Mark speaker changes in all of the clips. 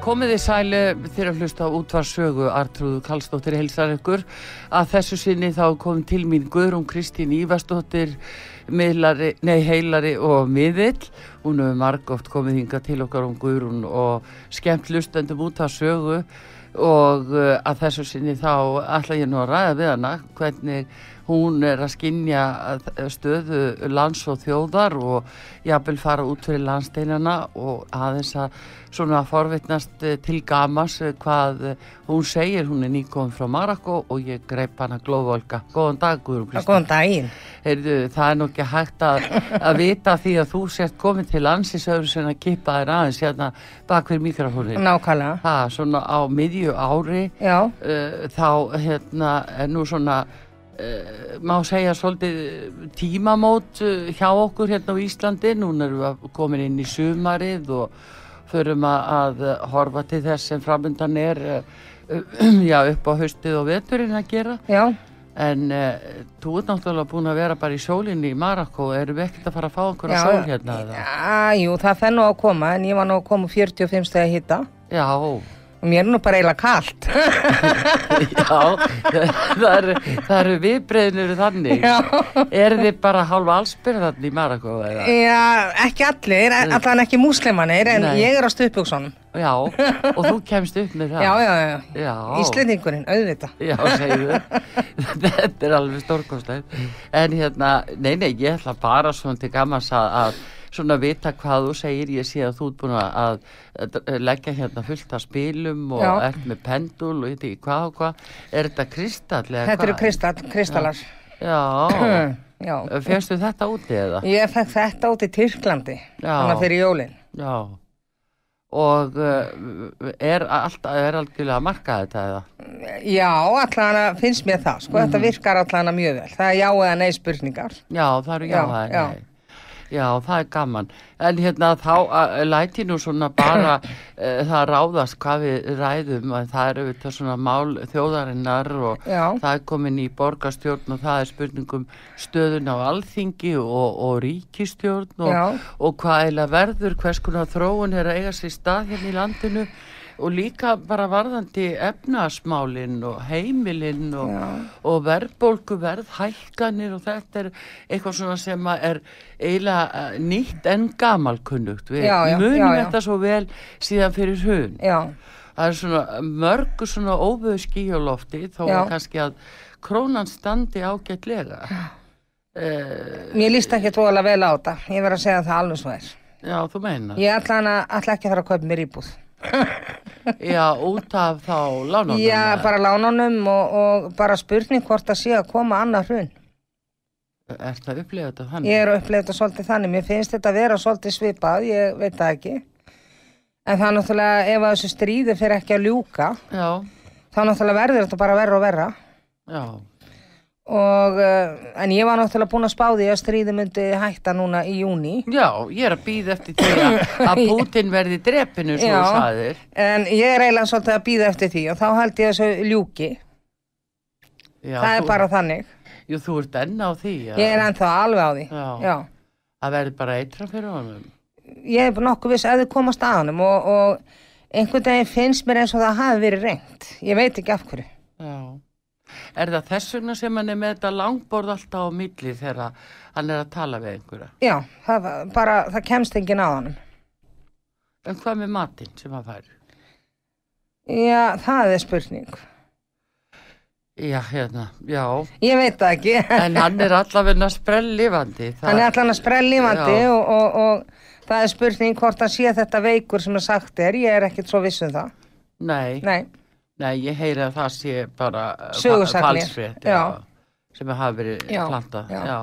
Speaker 1: Komið í sæli þegar að hlusta á útvarsögu Artrúðu Kallstóttir heilsar ykkur að þessu sinni þá kom til mín Guðrún Kristín Ívarstóttir miðlari, nei heilari og miðill. Hún hefur margóft komið hinga til okkar um Guðrún og skemmt hlustendum út að sögu og uh, að þessu sinni þá ætla ég nú að ræða við hana hvernig hún er að skinja uh, stöðu lands og þjóðar og jafnvel fara út fyrir landsteinana og aðeins að svona forvitnast uh, til gamas uh, hvað uh, hún segir, hún er nýkomin frá Marako og ég greip hana glóðvolka. Góðan dag Guðrún
Speaker 2: Já,
Speaker 1: Kristín.
Speaker 2: góðan daginn.
Speaker 1: Heyrðu, það er nú ekki hægt að, að vita því að þú sért komin til landsins öðru sem að kippa þér aðeins hérna bakvið mikrofónin.
Speaker 2: Nákvæmlega.
Speaker 1: Ha, svona á miðju ári
Speaker 2: Já,
Speaker 1: uh, þá hérna er nú svona uh, má segja svolítið eh, tímamót uh, hjá okkur hérna á Íslandi núna erum við komin inn í sumarið og förum að, að uh, horfa til þess sem framöndan er uh, já, upp á haustið og veturinn að gera
Speaker 2: já.
Speaker 1: en uh, þú ert náttúrulega búin að vera bara í sjólinni í Marakó erum við ekkert að fara að fá einhverja
Speaker 2: já.
Speaker 1: sól hérna eða?
Speaker 2: Já, jú, það fer nú að koma, en ég var nú að koma úr 45 stegi hitta.
Speaker 1: já,
Speaker 2: Og mér er nú bara eiginlega kallt.
Speaker 1: Já, það eru, það eru viðbreyðnir þannig.
Speaker 2: Já.
Speaker 1: Er þið bara hálfa allsbyrðan í Marakó eða?
Speaker 2: já, ekki allir, allan ekki múslimanir, en
Speaker 1: Nei.
Speaker 2: ég er á stuðbjóksunum.
Speaker 1: Já, og þú kemst upp með það.
Speaker 2: Já, já, já.
Speaker 1: Já.
Speaker 2: Íslendingurinn, auðvitað.
Speaker 1: Já, segðu. Þetta er alveg stórkostleg. En hérna, nei, nei, ég ætla bara svona til gamans að, að svona vita hvað þú segir. Ég sé að þú ert búin að að leggja hérna fullt af spilum og
Speaker 2: Já.
Speaker 1: ert með pendul og ég veit ekki hvað og hvað. Er þetta kristall eða hvað?
Speaker 2: Þetta eru kristall, kristallar. Mm,
Speaker 1: Já.
Speaker 2: já.
Speaker 1: Férstu þetta úti eða?
Speaker 2: Ég fekk þetta út í Tyrklandi,
Speaker 1: Já.
Speaker 2: þannig að fyrir jólinn.
Speaker 1: Já. Og uh, er, allt, er algjörlega að marka þetta eða?
Speaker 2: Já, allan að finnst mér það, sko,
Speaker 1: Mhm.
Speaker 2: þetta virkar allan að mjög vel. Það er já eða nei spurningar.
Speaker 1: Já, það eru já,
Speaker 2: Já,
Speaker 1: það er
Speaker 2: já.
Speaker 1: nei. Já, það er gaman. En hérna þá uh, læti nú svona bara uh, það ráðast hvað við ræðum að það eru þetta svona mál þjóðarinnar og
Speaker 2: Já.
Speaker 1: það er komin í borgarstjórn og það er spurningum stöðun á alþingi og, og ríkistjórn
Speaker 2: Já.
Speaker 1: og, og hvað eiginlega verður, hvers konar þróun er að eiga sér stað hérna í landinu og líka bara varðandi efnasmálinn og heimilinn og, og verðbólku verðhækkanir og þetta er eitthvað svona sem að er eiginlega eh, nýtt en gamalkunnugt við
Speaker 2: Já, já,
Speaker 1: munum
Speaker 2: já, já.
Speaker 1: þetta svo vel síðan fyrir hugn
Speaker 2: Já,
Speaker 1: það er svona mörgu svona óvöðu skíjólofti þó
Speaker 2: Já.
Speaker 1: að kannski að krónan standi ágætlega uh,
Speaker 2: Mér líst ekki tóðalega vel á þetta. Ég verð að segja það alveg svo er.
Speaker 1: já þú meinar
Speaker 2: Ég ætla, hana, ætla ekki að fara að kaupa mér íbúð.
Speaker 1: já út af þá lánunum
Speaker 2: Já,
Speaker 1: eða?
Speaker 2: bara lánunum og, og bara spurning hvort það sé að koma annað hrun.
Speaker 1: ertu að upplega þetta þannig
Speaker 2: Ég er upplegð þetta svolítið þannig. Mér finnst þetta vera svolítið svipað, ég veit það ekki. En það er náttúrulega, ef að þessu stríði fyrir ekki að ljúka,
Speaker 1: já,
Speaker 2: þá náttúrulega verður þetta bara verra og verra.
Speaker 1: já,
Speaker 2: Og, eh, en ég var náttúrulega búin að spá því að stríði myndi hætta núna í júni.
Speaker 1: já ég er að býða eftir því að- að Putin verði drepinu svo
Speaker 2: Já.
Speaker 1: þú sagðir
Speaker 2: En ég er eiginlega svolítið að býða eftir því og þá held ég þessu ljúki.
Speaker 1: já, þú-
Speaker 2: það er bara þannig.
Speaker 1: Jú, þú ert enn á því að
Speaker 2: Ég er ennþá alveg á því.
Speaker 1: Já. það verður bara eitra fyrir honum.
Speaker 2: Ég er nokkuð viss að þau komast að honum og, og einhvern veginn finnst mér eins og það hafi verið reynd. Ég veit ekki af hverju.
Speaker 1: Já. Er það þess vegna sem hann er með þetta langborð alltaf á milli þegar hann er að tala við einhverja?
Speaker 2: Já, það, var bara, það kemst enginn að honum.
Speaker 1: En hvað með matinn sem hann fær?
Speaker 2: Já, það er spurning.
Speaker 1: Já, hérna, já.
Speaker 2: Ég veit það ekki.
Speaker 1: En hann er allavegna sprellifandi. Það-
Speaker 2: Hann er allan að sprell lífandi
Speaker 1: Já.
Speaker 2: og, og, og það er spurning hvort hann sé þetta veikur sem er sagt er. Ég er ekkert svo viss um það.
Speaker 1: Nei, nei,
Speaker 2: Nei,
Speaker 1: ég heyri að það sé bara
Speaker 2: Sögusagnir,
Speaker 1: falsfrétt.
Speaker 2: já.
Speaker 1: Sem hafa verið
Speaker 2: Já,
Speaker 1: plantað.
Speaker 2: já.
Speaker 1: já.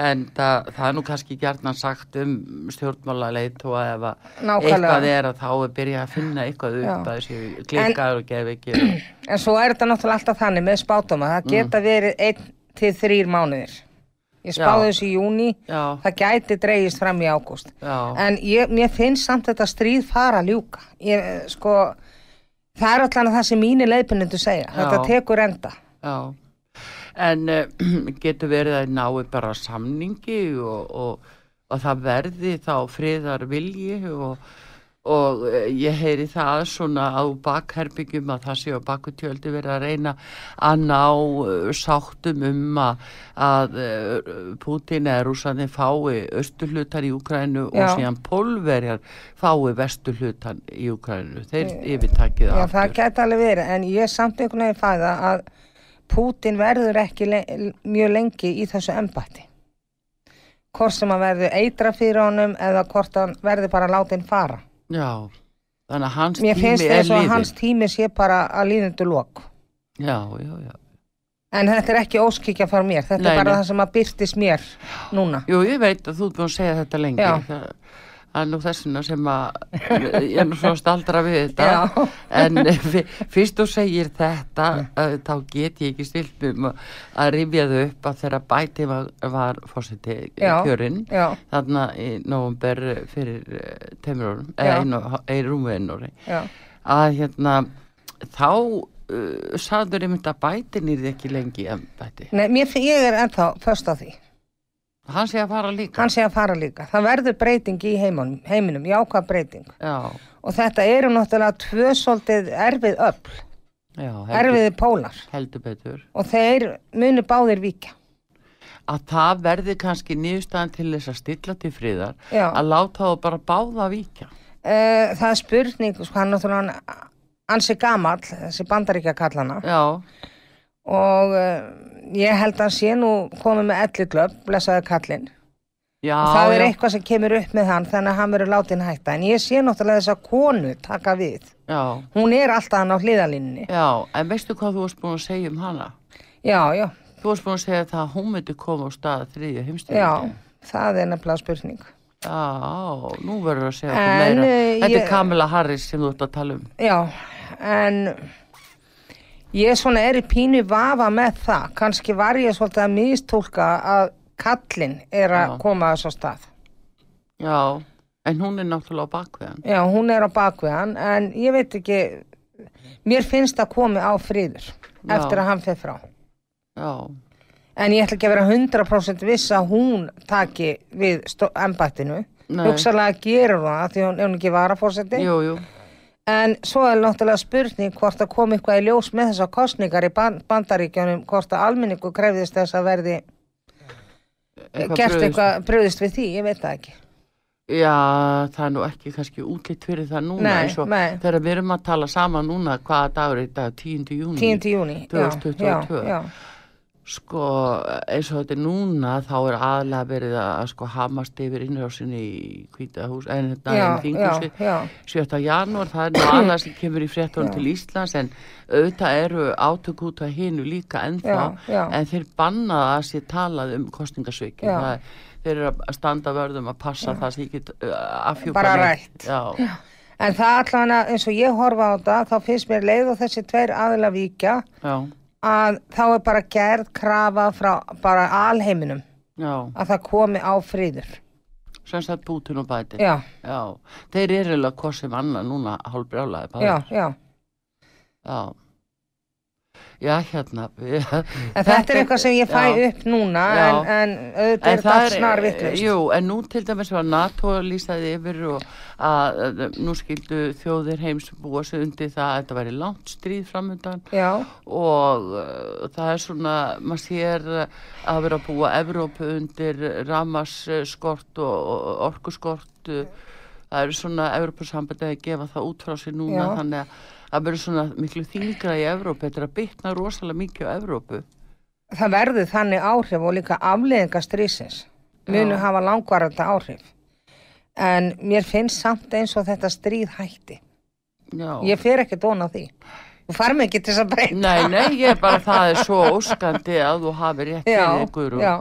Speaker 1: en það, það er nú kannski gjarnan sagt um stjórnmála leiðtóa ef að
Speaker 2: Nákvæmlega.
Speaker 1: eitthvað er að þá er byrjað að finna eitthvað upp
Speaker 2: Já.
Speaker 1: að þessi klikkaður og gef ekki
Speaker 2: En svo er þetta náttúrulega alltaf þannig með spátóma.
Speaker 1: Mm.
Speaker 2: Það geta verið einn til þrýr mánuðir. Ég
Speaker 1: Já.
Speaker 2: spáði þessu í júni,
Speaker 1: Já.
Speaker 2: það gæti dreigist fram í ágúst.
Speaker 1: Já.
Speaker 2: En ég, mér finnst samt þetta stríð fara að ljúka. Ég, eh, sko, það er allan það sem mínir leiðbynnindu segja.
Speaker 1: Já.
Speaker 2: Þetta tekur enda.
Speaker 1: Já, en uh, getur verið að náu bara samningi og, og, og það verði þá friðar vilji og, og eh, ég heyri það svona á bakherbyggjum að það séu að bakutjöldi verið að reyna að ná eh, sáttum um að, að eh, Putin eða rúsani fái östuhlutan í Ukraínu
Speaker 2: Já.
Speaker 1: og síðan pólverjar fái vestuhlutan í Ukraínu. Þeir yfirtakið
Speaker 2: Eh, Já,
Speaker 1: aftur.
Speaker 2: það gæti alveg verið. En ég samt einhvern veginn fæða að Pútin verður ekki le mjög lengi í þessu embætti. Hvort sem hann verður eitra fyrir honum eða hvort hann verður bara látin fara.
Speaker 1: Já, þannig að hans
Speaker 2: Mér
Speaker 1: tími er
Speaker 2: finnst
Speaker 1: liðin.
Speaker 2: þess að hans tími sé bara að líðindu lok.
Speaker 1: Já, já, já.
Speaker 2: En þetta er ekki óskikja frá mér, þetta
Speaker 1: Nei,
Speaker 2: er bara
Speaker 1: nei.
Speaker 2: það sem að byrtist mér núna.
Speaker 1: Jú, ég veit að þú ert búin að segja þetta lengi.
Speaker 2: Já.
Speaker 1: Það það er nú þessina sem að ég er nú svo staldra við þetta.
Speaker 2: Já.
Speaker 1: En f- fyrst þú segir þetta, uh, þá get ég ekki stilt um að rifja þau upp að þegar bæti var, var fórseti
Speaker 2: Já,
Speaker 1: kjörinn.
Speaker 2: já.
Speaker 1: Þarna í november fyrir eh, tveimur árum,
Speaker 2: Já.
Speaker 1: eða einu, einu rúmið einu ári.
Speaker 2: Já.
Speaker 1: að hérna þá uh, sagður einmitt að bætin er ekki lengi en bæti.
Speaker 2: Nei, mér, finn- ég er ennþá föst á því.
Speaker 1: Hann sé að fara líka.
Speaker 2: Hann sé að fara líka. Það verður breyting í heiminum, heiminum jákvæð breyting.
Speaker 1: Já,
Speaker 2: Og þetta eru náttúrulega tvö svolítið erfið öll,
Speaker 1: já, heldur,
Speaker 2: erfiði pólar.
Speaker 1: heldur betur.
Speaker 2: Og þeir munu báðir vika.
Speaker 1: Að það verði kannski nýðstæðan til þess að stilla til friðar
Speaker 2: Já.
Speaker 1: að láta þá bara báða víkja.
Speaker 2: Uh, það er spurning, sko, hann náttúrulega hann, hann sé gamall, þessi bandaríkja kallana.
Speaker 1: Já,
Speaker 2: Og uh, ég held að hann sé nú komið með elli glöf, blessaði kallinn.
Speaker 1: já,
Speaker 2: það er
Speaker 1: já,
Speaker 2: eitthvað sem kemur upp með hann þannig að hann verður látin hætta en ég sé náttúrulega þess að konu taka við
Speaker 1: já,
Speaker 2: hún er alltaf hann á hliðalínni
Speaker 1: já, en veistu hvað þú varst búin að segja um hana?
Speaker 2: já, já,
Speaker 1: Þú varst búin að segja það að hún myndi koma á stað þriðja heimstyrjandi.
Speaker 2: já, það er nefnilega spurning
Speaker 1: Já, nú verður að segja okkur
Speaker 2: En,
Speaker 1: meira.
Speaker 2: eh,
Speaker 1: Þetta
Speaker 2: ég-
Speaker 1: er Kamila Harris sem þú ert að tala um.
Speaker 2: já, en ég svona er í pínu vafa með það kannski var ég svolítið að mistúlka að kallinn er að
Speaker 1: Já.
Speaker 2: koma þess á stað
Speaker 1: Já, en hún er náttúrulega á bakveðan.
Speaker 2: já, hún er á bakvið hann en ég veit ekki mér finnst að komi á friður
Speaker 1: Já.
Speaker 2: eftir að hann fer frá
Speaker 1: Já,
Speaker 2: En ég ætla ekki að vera 100% viss að hún taki við stó- embættinu.
Speaker 1: Nei.
Speaker 2: Hugsalega gerur hún það því hún er hún ekki varafórseti.
Speaker 1: jú, jú.
Speaker 2: En svo er náttúrulega spurning hvort að kom eitthvað í ljós með þessar kostningar í ban bandaríkjunum, hvort að almenningu krefðist þess að verði eh, gert
Speaker 1: brugðist.
Speaker 2: eitthvað bröðist við Mm. því, ég veit það ekki.
Speaker 1: Já, það er nú ekki kannski útlitt fyrir það núna.
Speaker 2: Nei,
Speaker 1: eins og
Speaker 2: nei.
Speaker 1: Þegar við erum að tala saman núna hvaða dagur er í dag, 10. júni.
Speaker 2: 10. júni, já, já,
Speaker 1: 2022.
Speaker 2: já,
Speaker 1: Sko, eins og þetta er núna, þá er aðlega verið að sko hamast yfir innrásinni í kvítahús, en þetta
Speaker 2: Já,
Speaker 1: er þinghúsi.
Speaker 2: já, já.
Speaker 1: 7. janúar, það er nú aðlega sem kemur í fréttunum til Íslands, en auðvitað eru átök út að hinu líka ennþá,
Speaker 2: Já, já.
Speaker 1: en þeir bannaða að sé talað um kostningasveiki.
Speaker 2: Já.
Speaker 1: Það er- Þeir eru að standa vörðum að passa það sem ég get uh, afhjúpa.
Speaker 2: Bara
Speaker 1: neitt.
Speaker 2: rætt.
Speaker 1: Já,
Speaker 2: En það allan að eins og ég horfa á þetta, þá finnst mér leið og þessi tveir aðila víkja
Speaker 1: já,
Speaker 2: að þá er bara gerð krafa frá bara alheiminum.
Speaker 1: já,
Speaker 2: að það komi á friður.
Speaker 1: sem sagt bútin og bæti.
Speaker 2: Já,
Speaker 1: Já, þeir eru alveg hvað sem annað núna hálfbrjálaði bara.
Speaker 2: já, já.
Speaker 1: Já. Já, hérna. En
Speaker 2: En þetta, er eitthvað sem ég fæ upp núna,
Speaker 1: Já.
Speaker 2: en, en auðvitað er það snar vittlust.
Speaker 1: Jú, en nú til dæmis var NATO lýsaði yfir og að, að nú skildu þjóðir heims búa sig undir það að þetta væri langt stríð framöndan
Speaker 2: Já,
Speaker 1: og uh, það er svona, maður sér uh, að vera að búa Evrópu undir ramaskort og, og orkuskort uh, það eru svona Evrópusambandi að gefa það út frá sér núna
Speaker 2: Já.
Speaker 1: þannig að það verður svona miklu þingra í Evrópu, þetta er að bytna rosalega mikið á Evrópu
Speaker 2: það verður þannig áhrif og líka afleðinga strísins munu
Speaker 1: Já.
Speaker 2: hafa langvarandi áhrif. En mér finnst samt eins og þetta stríð hætti.
Speaker 1: Já.
Speaker 2: Ég fer ekki dóna því. Þú far mig ekki til þess að breyta.
Speaker 1: Nei, nei, ég er bara það er svo óskandi að þú hafi rétt
Speaker 2: Já,
Speaker 1: fyrir ykkur og
Speaker 2: já,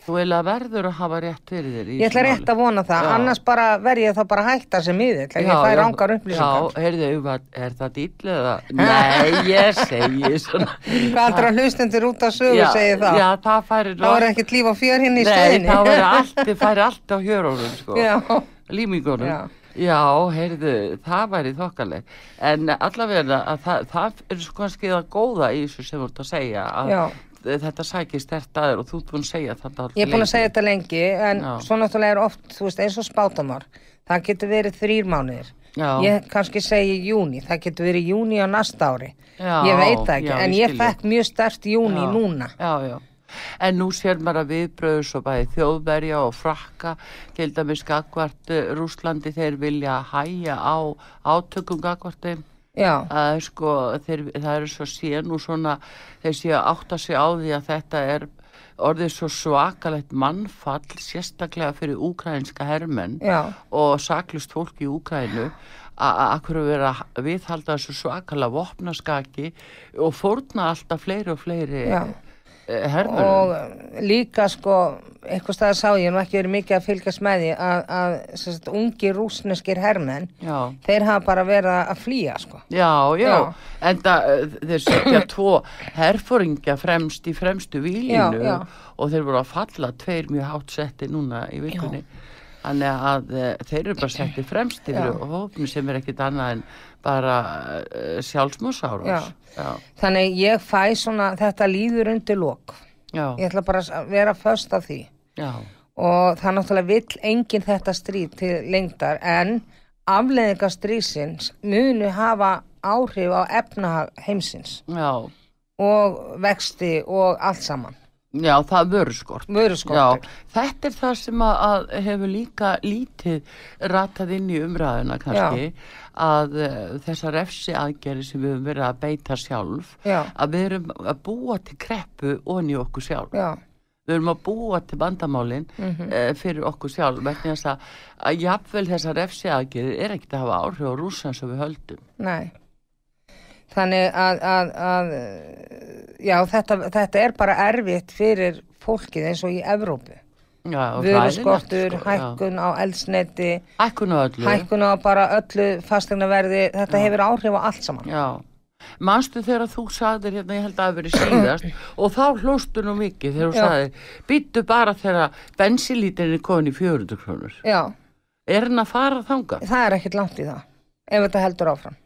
Speaker 1: Þú eiginlega verður að hafa rétt fyrir þér. í
Speaker 2: Ég ætla
Speaker 1: þessu
Speaker 2: rétt
Speaker 1: máli.
Speaker 2: að vona það,
Speaker 1: Já.
Speaker 2: annars bara verð ég þá bara að hætta sem í þitt, ég fæ rángar upplýsingar.
Speaker 1: Já, heyrðu, var- er það dýll eða? Nei, ég segi svona.
Speaker 2: Hvað aldrei að hlustendur út af sögu segir það?
Speaker 1: Já, það færi
Speaker 2: þá er ekkert líf á fjör hérna
Speaker 1: Nei,
Speaker 2: í stöðinni.
Speaker 1: það færi allt, það færi allt á hjörunum, sko.
Speaker 2: Já.
Speaker 1: Límingunum.
Speaker 2: Já.
Speaker 1: Já. heyrðu, það væri þokkaleg. En allavega, að það, það er svo kannski það góða í þessu sem þú ert að segja. Að
Speaker 2: Já.
Speaker 1: Þetta sækist þetta aður og þú ert búin að segja þetta alltaf
Speaker 2: Ég er búin að segja þetta lengi, en
Speaker 1: Já.
Speaker 2: svo náttúrulega er oft, þú veist, eins og spátamár, það getur verið þrýr mánuðir.
Speaker 1: Já.
Speaker 2: Ég kannski segi júni, það getur verið júni á næsta ári.
Speaker 1: Já,
Speaker 2: ég veit það ekki,
Speaker 1: já,
Speaker 2: en
Speaker 1: ég
Speaker 2: ég
Speaker 1: skil
Speaker 2: fekk mjög stert júni
Speaker 1: Já.
Speaker 2: núna.
Speaker 1: Já, já. En nú sér maður að viðbröðu svo bæði þjóðverja og frakka, til dæmis gagvart Rúslandi, þeir vilja hæja á átökum gagvartum.
Speaker 2: Já,
Speaker 1: Það er sko, þeir, það eru svo sé nú svona, þeir séu að átta sig á því að þetta er orðið svo svakalegt mannfall, sérstaklega fyrir úkrænska hermenn
Speaker 2: Já.
Speaker 1: og saklust fólk í Úkrænu að að- að hverju vera að viðhalda þessu svakalega vopnaskaki og fórna alltaf fleiri og fleiri
Speaker 2: Já.
Speaker 1: eh, hermönnum.
Speaker 2: og líka sko, eitthvað staðar sá ég, nú ekki verið mikið að fylgjast með því, að, að sem sagt, ungi rúsneskir hermenn,
Speaker 1: Já.
Speaker 2: þeir hafa bara verið að flýja, sko.
Speaker 1: Já, já,
Speaker 2: Já.
Speaker 1: en það, þeir setja tvo herfóringja fremst í fremstu vílinu
Speaker 2: Já, já.
Speaker 1: og þeir voru að falla tveir mjög hátt setti núna í vikunni. Þannig að eh, þeir eru bara setti fremst yfir hópni sem er ekkit annað en bara uh, sjálfsmúsárás. Já.
Speaker 2: Þannig ég fæ svona, þetta líður undir lok.
Speaker 1: Já,
Speaker 2: Ég ætla bara að vera föst af því.
Speaker 1: já,
Speaker 2: Og það náttúrulega vill enginn þetta stríð til lengdar, en afleðingar stríðsins munu hafa áhrif á efnahag heimsins
Speaker 1: já,
Speaker 2: og vexti og allt saman.
Speaker 1: já, það vörur skort.
Speaker 2: Vöruskortur.
Speaker 1: Já, þetta er það sem að, að hefur líka lítið ratað inn í umræðuna kannski að uh, þessar refsi aðgerði sem við höfum verið að beita sjálf
Speaker 2: Já.
Speaker 1: að við erum að búa til kreppu onni okkur sjálf.
Speaker 2: Já, Mhm.
Speaker 1: Við erum að búa til bandamálin mm fyrir okkur sjálf vegna þess að, að jafnvel þessar refsi aðgerði er ekkert að hafa áhrif á rússan sem við höldum.
Speaker 2: nei. Þannig að, að, að já, þetta, þetta er bara erfitt fyrir fólkið eins og í Evrópu.
Speaker 1: Já, og
Speaker 2: Vöruskortur,
Speaker 1: hræðilegt, sko, já.
Speaker 2: hækkun á eldsneti,
Speaker 1: Hækkun á öllu.
Speaker 2: hækkun á bara öllu fastegnaverði, þetta hefur áhrif á allt saman.
Speaker 1: Já, manstu þegar þú sagðir hérna, ég held að það hafi verið síðast og þá hlóstu nú mikið þegar þú
Speaker 2: Já.
Speaker 1: sagðir, býttu bara þegar bensinlítin er komin í 400 krónur.
Speaker 2: Já,
Speaker 1: Er hann að fara þangað?
Speaker 2: það er ekkit langt í það, ef þetta heldur áfram.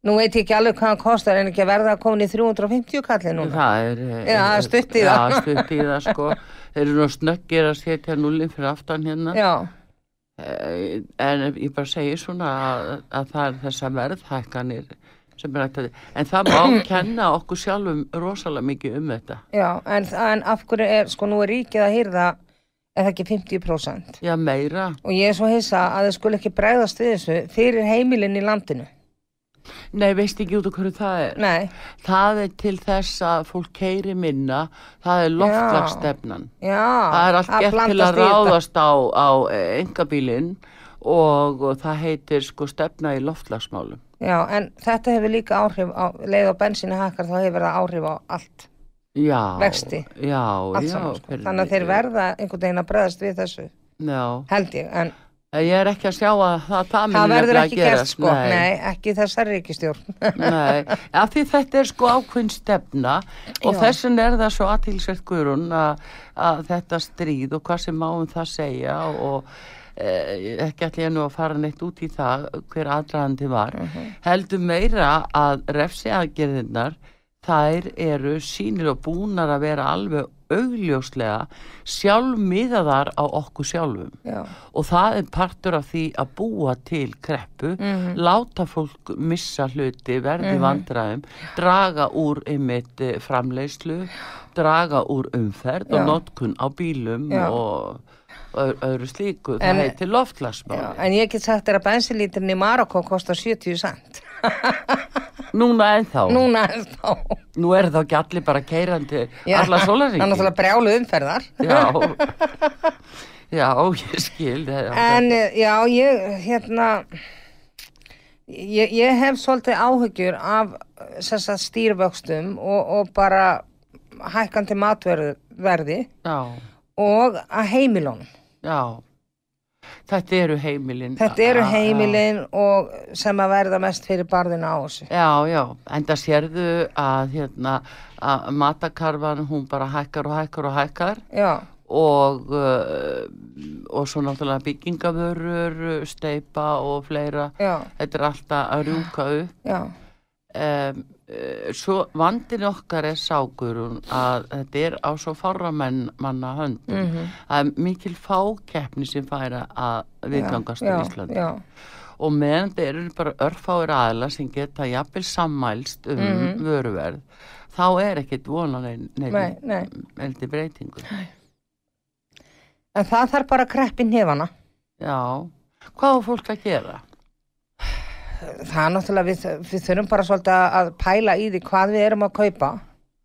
Speaker 2: Nú veit ég ekki alveg hvað það kostar en ekki að verða að koma í 350 kalli núna.
Speaker 1: Það er... eh,
Speaker 2: Já, það er stutt í það.
Speaker 1: Já, stutt í það, sko. Þeir eru nú snöggir að setja nullin fyrir aftan hérna.
Speaker 2: Já,
Speaker 1: Eh, En ég bara segi svona að, að það er þessa verðhækkanir sem er ættið. En það má kenna okkur sjálfum rosalega mikið um þetta.
Speaker 2: já, en, en af hverju er, sko nú er ríkið að hýrða eða ekki 50%.
Speaker 1: Já, meira.
Speaker 2: Og ég er svo hissa að þau skul ekki bregðast við þessu fyrir heimilinn í landinu.
Speaker 1: Nei, veist ekki út af hverju það er.
Speaker 2: Nei,
Speaker 1: Það er til þess að fólk keiri minna, það er loftlagsstefnan.
Speaker 2: já.
Speaker 1: Það er allt
Speaker 2: að
Speaker 1: gert til að
Speaker 2: blandast í þetta.
Speaker 1: ráðast á, á engabílinn og, og það heitir sko stefna í loftlagsmálum.
Speaker 2: Já, en þetta hefur líka áhrif á, leið á bensinu hækkar þá hefur það áhrif á allt,
Speaker 1: Já.
Speaker 2: Vexti.
Speaker 1: Já,
Speaker 2: allt
Speaker 1: já.
Speaker 2: saman. Sko.
Speaker 1: fyrir-
Speaker 2: Þannig að þeir verða einhvern veginn að bregðast við þessu,
Speaker 1: Já,
Speaker 2: held ég, en
Speaker 1: En ég er ekki að sjá að það, það muni
Speaker 2: það verður
Speaker 1: nefnilega
Speaker 2: ekki gert
Speaker 1: gerast,
Speaker 2: sko, nei, ekki þessar ríkistjórn.
Speaker 1: Nei, af því þetta er sko ákveðin stefna og
Speaker 2: Já.
Speaker 1: þessin er það svo aðtilsvert guðrun að, að þetta stríð og hvað sem máum það segja og e, ekki allir ég nú að fara neitt út í það hver aðdraðandi var heldur meira að refsi aðgerðinnar þær eru sínir og búnar að vera alveg augljóslega sjálfmiðaðar á okkur sjálfum
Speaker 2: Já,
Speaker 1: og það er partur af því að búa til kreppu,
Speaker 2: Mhm.
Speaker 1: láta fólk missa hluti, verði vandræðum, draga úr einmitt eh, framleiðslu, draga úr umferð
Speaker 2: Já.
Speaker 1: og notkun á bílum
Speaker 2: Já.
Speaker 1: og ö- öðru slíku.
Speaker 2: En-
Speaker 1: það heitir
Speaker 2: já,
Speaker 1: loftlagsmáli.
Speaker 2: en ég get sagt þér að bensinlíturinn í Marokko kostar 70 cent.
Speaker 1: Núna ennþá,
Speaker 2: Núna er þá.
Speaker 1: nú er þá ekki allir bara keirandi
Speaker 2: Já,
Speaker 1: alla
Speaker 2: Það er
Speaker 1: sólaringi.
Speaker 2: náttúrulega brjálu umferðar.
Speaker 1: Já, já, ég skil. já,
Speaker 2: En eh, já, ég, hérna, ég, ég hef svolítið áhyggjur af þess að stýrvöxtum og, og bara hækkandi matverð, verði
Speaker 1: já,
Speaker 2: og að heimilónum.
Speaker 1: já. Þetta eru heimilin.
Speaker 2: Þetta eru
Speaker 1: Ah, Já, já.
Speaker 2: heimilin og sem að verða mest fyrir barðina á þessu.
Speaker 1: Já, já, enda sérðu að, hérna, að matakarfan hún bara hækkar og hækkar og hækkar
Speaker 2: Já,
Speaker 1: og, uh, og svo náttúrulega byggingavörur, steipa og fleira.
Speaker 2: já,
Speaker 1: Þetta er alltaf að rjúka upp.
Speaker 2: já,
Speaker 1: Um, uh, svo vandin okkar er ságurun að þetta er á svo fárra menn manna höndum.
Speaker 2: Mhm.
Speaker 1: Það er mikil fákeppni sem færa að viðgangast í
Speaker 2: já,
Speaker 1: Íslandi
Speaker 2: já,
Speaker 1: og meðan þeir eru bara örfáir aðla sem geta jafnvel sammælst um vöruverð þá er ekkit vonan
Speaker 2: Mhm. nei, nei.
Speaker 1: nefndi breytingu
Speaker 2: En það þarf bara að kreppin hefana.
Speaker 1: já, hvað á fólk að gera
Speaker 2: Það er náttúrulega, við, við þurfum bara svolítið að pæla í því hvað við erum að kaupa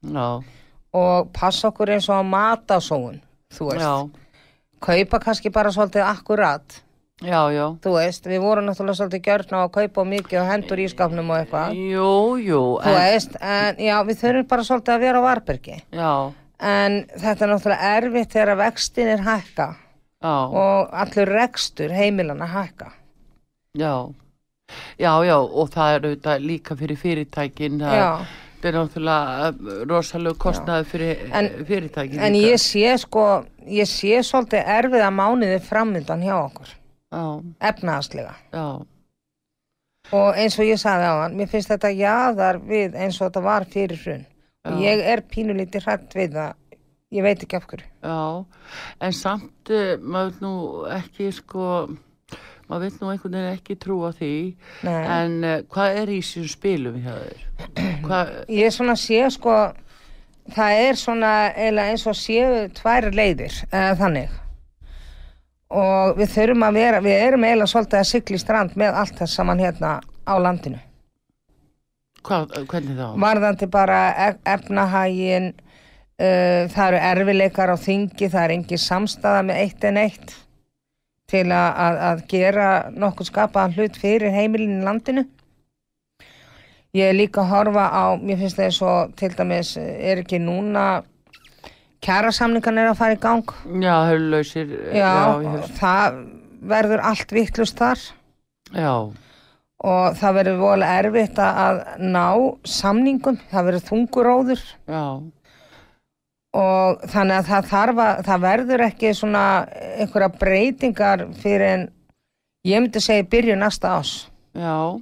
Speaker 1: já,
Speaker 2: og passa okkur eins og að mata sóun, þú veist.
Speaker 1: já,
Speaker 2: Kaupa kannski bara svolítið akkurat,
Speaker 1: já, já
Speaker 2: þú veist. Við vorum náttúrulega svolítið gjörn á að kaupa of mikið og hendur í skapnum og eitthvað.
Speaker 1: jú, jú
Speaker 2: Þú
Speaker 1: en,
Speaker 2: veist, en já, við þurfum bara svolítið að vera á varbergi.
Speaker 1: já,
Speaker 2: En þetta er náttúrulega erfitt þegar vextin er hækka
Speaker 1: já,
Speaker 2: og allur rekstur heimilana hækka.
Speaker 1: já já, já, og það er auðvitað líka fyrir fyrirtækin það
Speaker 2: Já.
Speaker 1: það er náttúrulega eh, rosalega kostnaði fyrir
Speaker 2: En-
Speaker 1: fyrirtækin
Speaker 2: En ég sé sko, ég sé svolítið erfiða mánuði framöndan hjá okkur,
Speaker 1: já,
Speaker 2: efnaðaslega.
Speaker 1: já,
Speaker 2: Og eins og ég sagði á hann, mér finnst þetta jaðar við eins og þetta var fyrir hrun. Og ég er pínulítið hrætt við það, ég veit ekki af hverju.
Speaker 1: Já, en samt eh, maður nú ekki sko, maður veit nú einhvern veginn ekki trúa því,
Speaker 2: Nei.
Speaker 1: en uh, hvað er í þessum spilum hjá þér? Hvað,
Speaker 2: Ég svona sé sko, það er svona eiginlega eins og séu tvær leiðir, eða þannig. Og við þurfum að vera, við erum eiginlega svolítið að sigla í strand með allt það saman hérna á landinu.
Speaker 1: hvað, hvernig þá?
Speaker 2: varðandi bara ef- efnahagin uh, það eru erfileikar á þingi það er engin samstaða með eitt en eitt til að, að, að gera nokkuð skapaðan hlut fyrir heimilin í landinu ég er líka að horfa á mér finnst það svo til dæmis er ekki núna kjærasamningan er að fara í gang
Speaker 1: Já, höllöysir, Eh,
Speaker 2: já,
Speaker 1: já, ég-
Speaker 2: það verður allt vittlust þar
Speaker 1: já,
Speaker 2: og það verður vola erfitt að- að ná samningum, það verður þunguróður
Speaker 1: já,
Speaker 2: og þannig að það þarf að það verður ekki svona einhverja breytingar fyrir en ég myndi segja í byrju næsta ás
Speaker 1: já.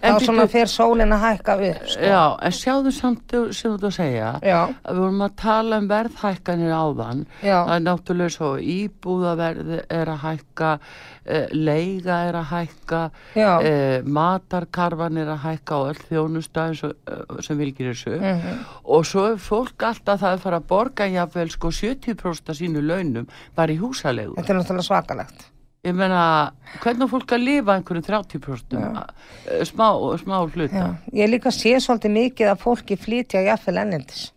Speaker 2: þá
Speaker 1: En,
Speaker 2: svona
Speaker 1: bíddu,
Speaker 2: fer sólin að hækka upp sko.
Speaker 1: já, en sjáðu samt þú- sem þú ert að segja,
Speaker 2: já,
Speaker 1: að við vorum að tala um verðhækkanir áðan, Það
Speaker 2: já,
Speaker 1: er náttúrulega svo íbúðaverð er að hækka, eh, leiga er að hækka,
Speaker 2: Já.
Speaker 1: eh, matarkarfan er að hækka og öll þjónusta eins og, eh, sem vilkir þessu.
Speaker 2: Mm. Mhm.
Speaker 1: Og svo er fólk alltaf það að fara að borga jafnvel sko 70% af sínu launum bara í húsalegu.
Speaker 2: þetta er náttúrulega svakalegt
Speaker 1: Ég meina, hvernig á fólk að lifa einhverjum 30% eh, smá, smá
Speaker 2: já.
Speaker 1: hluta?
Speaker 2: ég líka sé svolítið mikið að fólki flytja jafnvel ennendis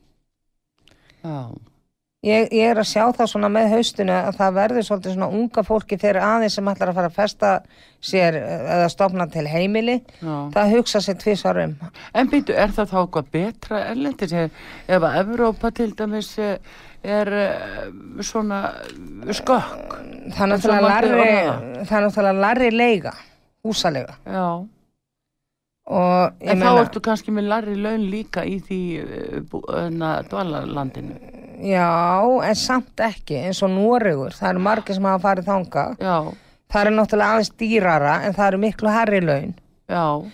Speaker 1: Já.
Speaker 2: ég, ég er að sjá það svona með haustinu að það verður svolítið svona unga fólki fyrir aðeins sem ætlar að fara að festa sér eh, eða stopna til heimili
Speaker 1: Já.
Speaker 2: það hugsa sér tvisvar um
Speaker 1: En býtu, er það þá eitthvað betra erlendis ef ef að Evrópa til dæmis eh, er eh, svona eh, skökk?
Speaker 2: það er
Speaker 1: En svo
Speaker 2: náttúrulega
Speaker 1: mætti
Speaker 2: larri,
Speaker 1: orða
Speaker 2: það er náttúrulega larri leiga húsalega
Speaker 1: Já,
Speaker 2: og ég
Speaker 1: en
Speaker 2: meina,
Speaker 1: þá ertu kannski með larri laun líka í því eh, bú- hérna, dvalarlandinu.
Speaker 2: já, en samt ekki eins og Noregur, það eru margir sem hafa farið þanga,
Speaker 1: Já,
Speaker 2: það eru náttúrulega aðeins dýrara en það eru miklu herri laun
Speaker 1: já,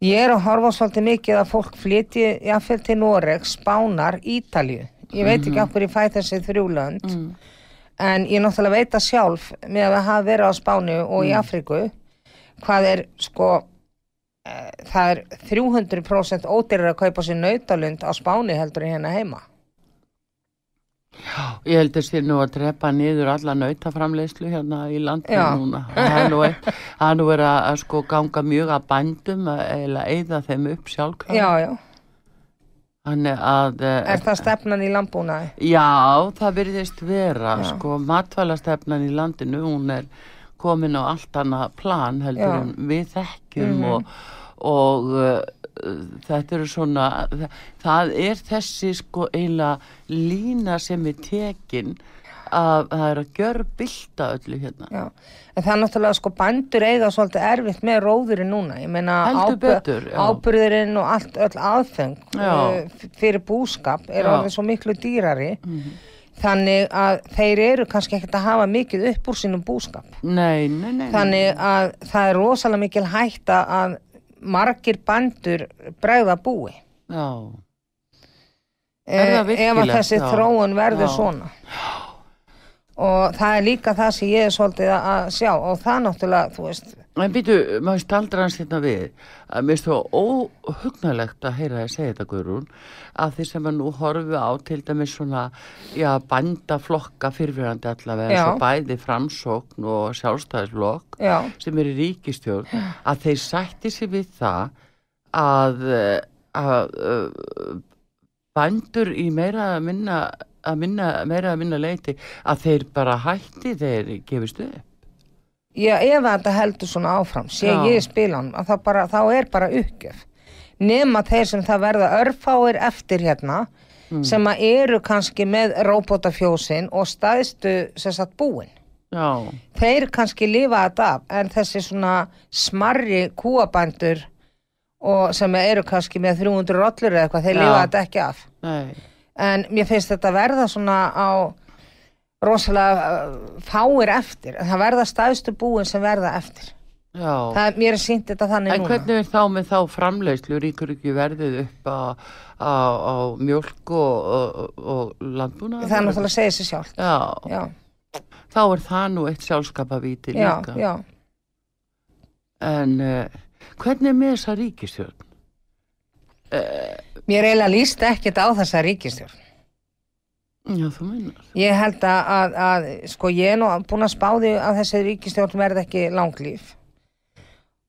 Speaker 2: ég er að horfa svolítið mikið að fólk flytji jafnvel til Noreg, Spánar, Ítalju ég veit
Speaker 1: Mhm.
Speaker 2: ekki okkur ég fæ þessi þrjúlönd
Speaker 1: Mm.
Speaker 2: en ég náttúrulega veit það sjálf með að hafa verið á Spánu og
Speaker 1: Mm.
Speaker 2: í Afriku hvað er sko eh, það er 300% ódýrar að kaupa sér nautalund á Spáni heldur en hérna heima
Speaker 1: ég held að sé nú að drepa niður alla nautaframleiðslu hérna í landinu
Speaker 2: Já.
Speaker 1: núna. Það er nú eitt- það er nú verið að að sko ganga mjög að bændum að- eða eigða þeim upp sjálfkvæm.
Speaker 2: já, já,
Speaker 1: Þannig að... eh,
Speaker 2: er það stefnan í landbúnaði
Speaker 1: Já, það virðist vera, sko, matvælastefnan í landinu, hún er komin á allt annað plan heldur
Speaker 2: Já. Mhm.
Speaker 1: en við þekkjum og, og uh, uh, þetta eru svona, það, það er þessi sko eiginlega lína sem er tekin að það er að gjör bylta öllu hérna.
Speaker 2: Já, en það er náttúrulega sko bændur eiga svolítið erfitt með róðurinn núna, ég meina
Speaker 1: Heldur
Speaker 2: ábyrð-
Speaker 1: betur, já.
Speaker 2: ábyrðurinn og allt öll aðfeng
Speaker 1: Já.
Speaker 2: eh, f- fyrir búskap
Speaker 1: Já.
Speaker 2: er
Speaker 1: Mhm.
Speaker 2: orðið svo miklu dýrari, þannig að þeir eru kannski ekkert að hafa mikið upp úr sínum búskap.
Speaker 1: Nei, nei, nei. nei.
Speaker 2: Þannig að það er rosalega mikil hætta að margir bændur bregða búi.
Speaker 1: Já, Er
Speaker 2: Eh,
Speaker 1: það
Speaker 2: ef að
Speaker 1: virkilegt?
Speaker 2: þessi
Speaker 1: Já.
Speaker 2: þróun verður
Speaker 1: Já.
Speaker 2: svona og það er líka það sem ég er svolítið að- að sjá og það náttúrulega, þú veist
Speaker 1: en býtu, maður staldra hans hérna við að mér stóð óhugnalegt að heyra að segja þetta Guðrún að því sem að nú horfum á til dæmis svona, já, bændaflokka fyrirverandi allavega, svo
Speaker 2: Já.
Speaker 1: bæði framsókn og sjálfstæðisflokk
Speaker 2: já,
Speaker 1: sem eru í ríkistjórn að þeir sætti sig við það að, eh, að, að bændur í meira að minna að minna, meira að minna leiti að þeir bara hætti þeir gefist upp
Speaker 2: Já, ef að þetta heldur svona áfram, sé
Speaker 1: Já.
Speaker 2: ég spila hann, þá, bara, þá er bara uppgjöf. Nema þeir sem það verða örfáir eftir hérna,
Speaker 1: Mm.
Speaker 2: sem að eru kannski með róbótafjósin og staðstu sem sagt búin.
Speaker 1: já,
Speaker 2: Þeir kannski lifa þetta af, en þessi svona smarri kúabændur og sem eru kannski með 300 rollur eða eitthvað, þeir
Speaker 1: Já.
Speaker 2: lifa þetta ekki af.
Speaker 1: nei
Speaker 2: En mér finnst þetta verða svona á rosalega uh, fáir eftir, það verða staðstu búin sem verða eftir.
Speaker 1: já.
Speaker 2: Það, mér er sínt þetta þannig
Speaker 1: En
Speaker 2: núna.
Speaker 1: hvernig er þá með þá framleiðslu ríkur ekki verðið upp á, á, á mjölk og, og, og landbúna?
Speaker 2: Það er náttúrulega að segja sér sjálf.
Speaker 1: Já,
Speaker 2: Já,
Speaker 1: þá er það nú eitt sjálfskapavíti
Speaker 2: já,
Speaker 1: líka.
Speaker 2: já.
Speaker 1: En uh, hvernig er með þessa ríkistjórn?
Speaker 2: Mér er eiginlega líst ekkert á þessa ríkistjórn.
Speaker 1: Já, þú meinar.
Speaker 2: Ég held að, að, að sko, ég er nú búin að spáði að þessi ríkistjórn verði ekki langlíf.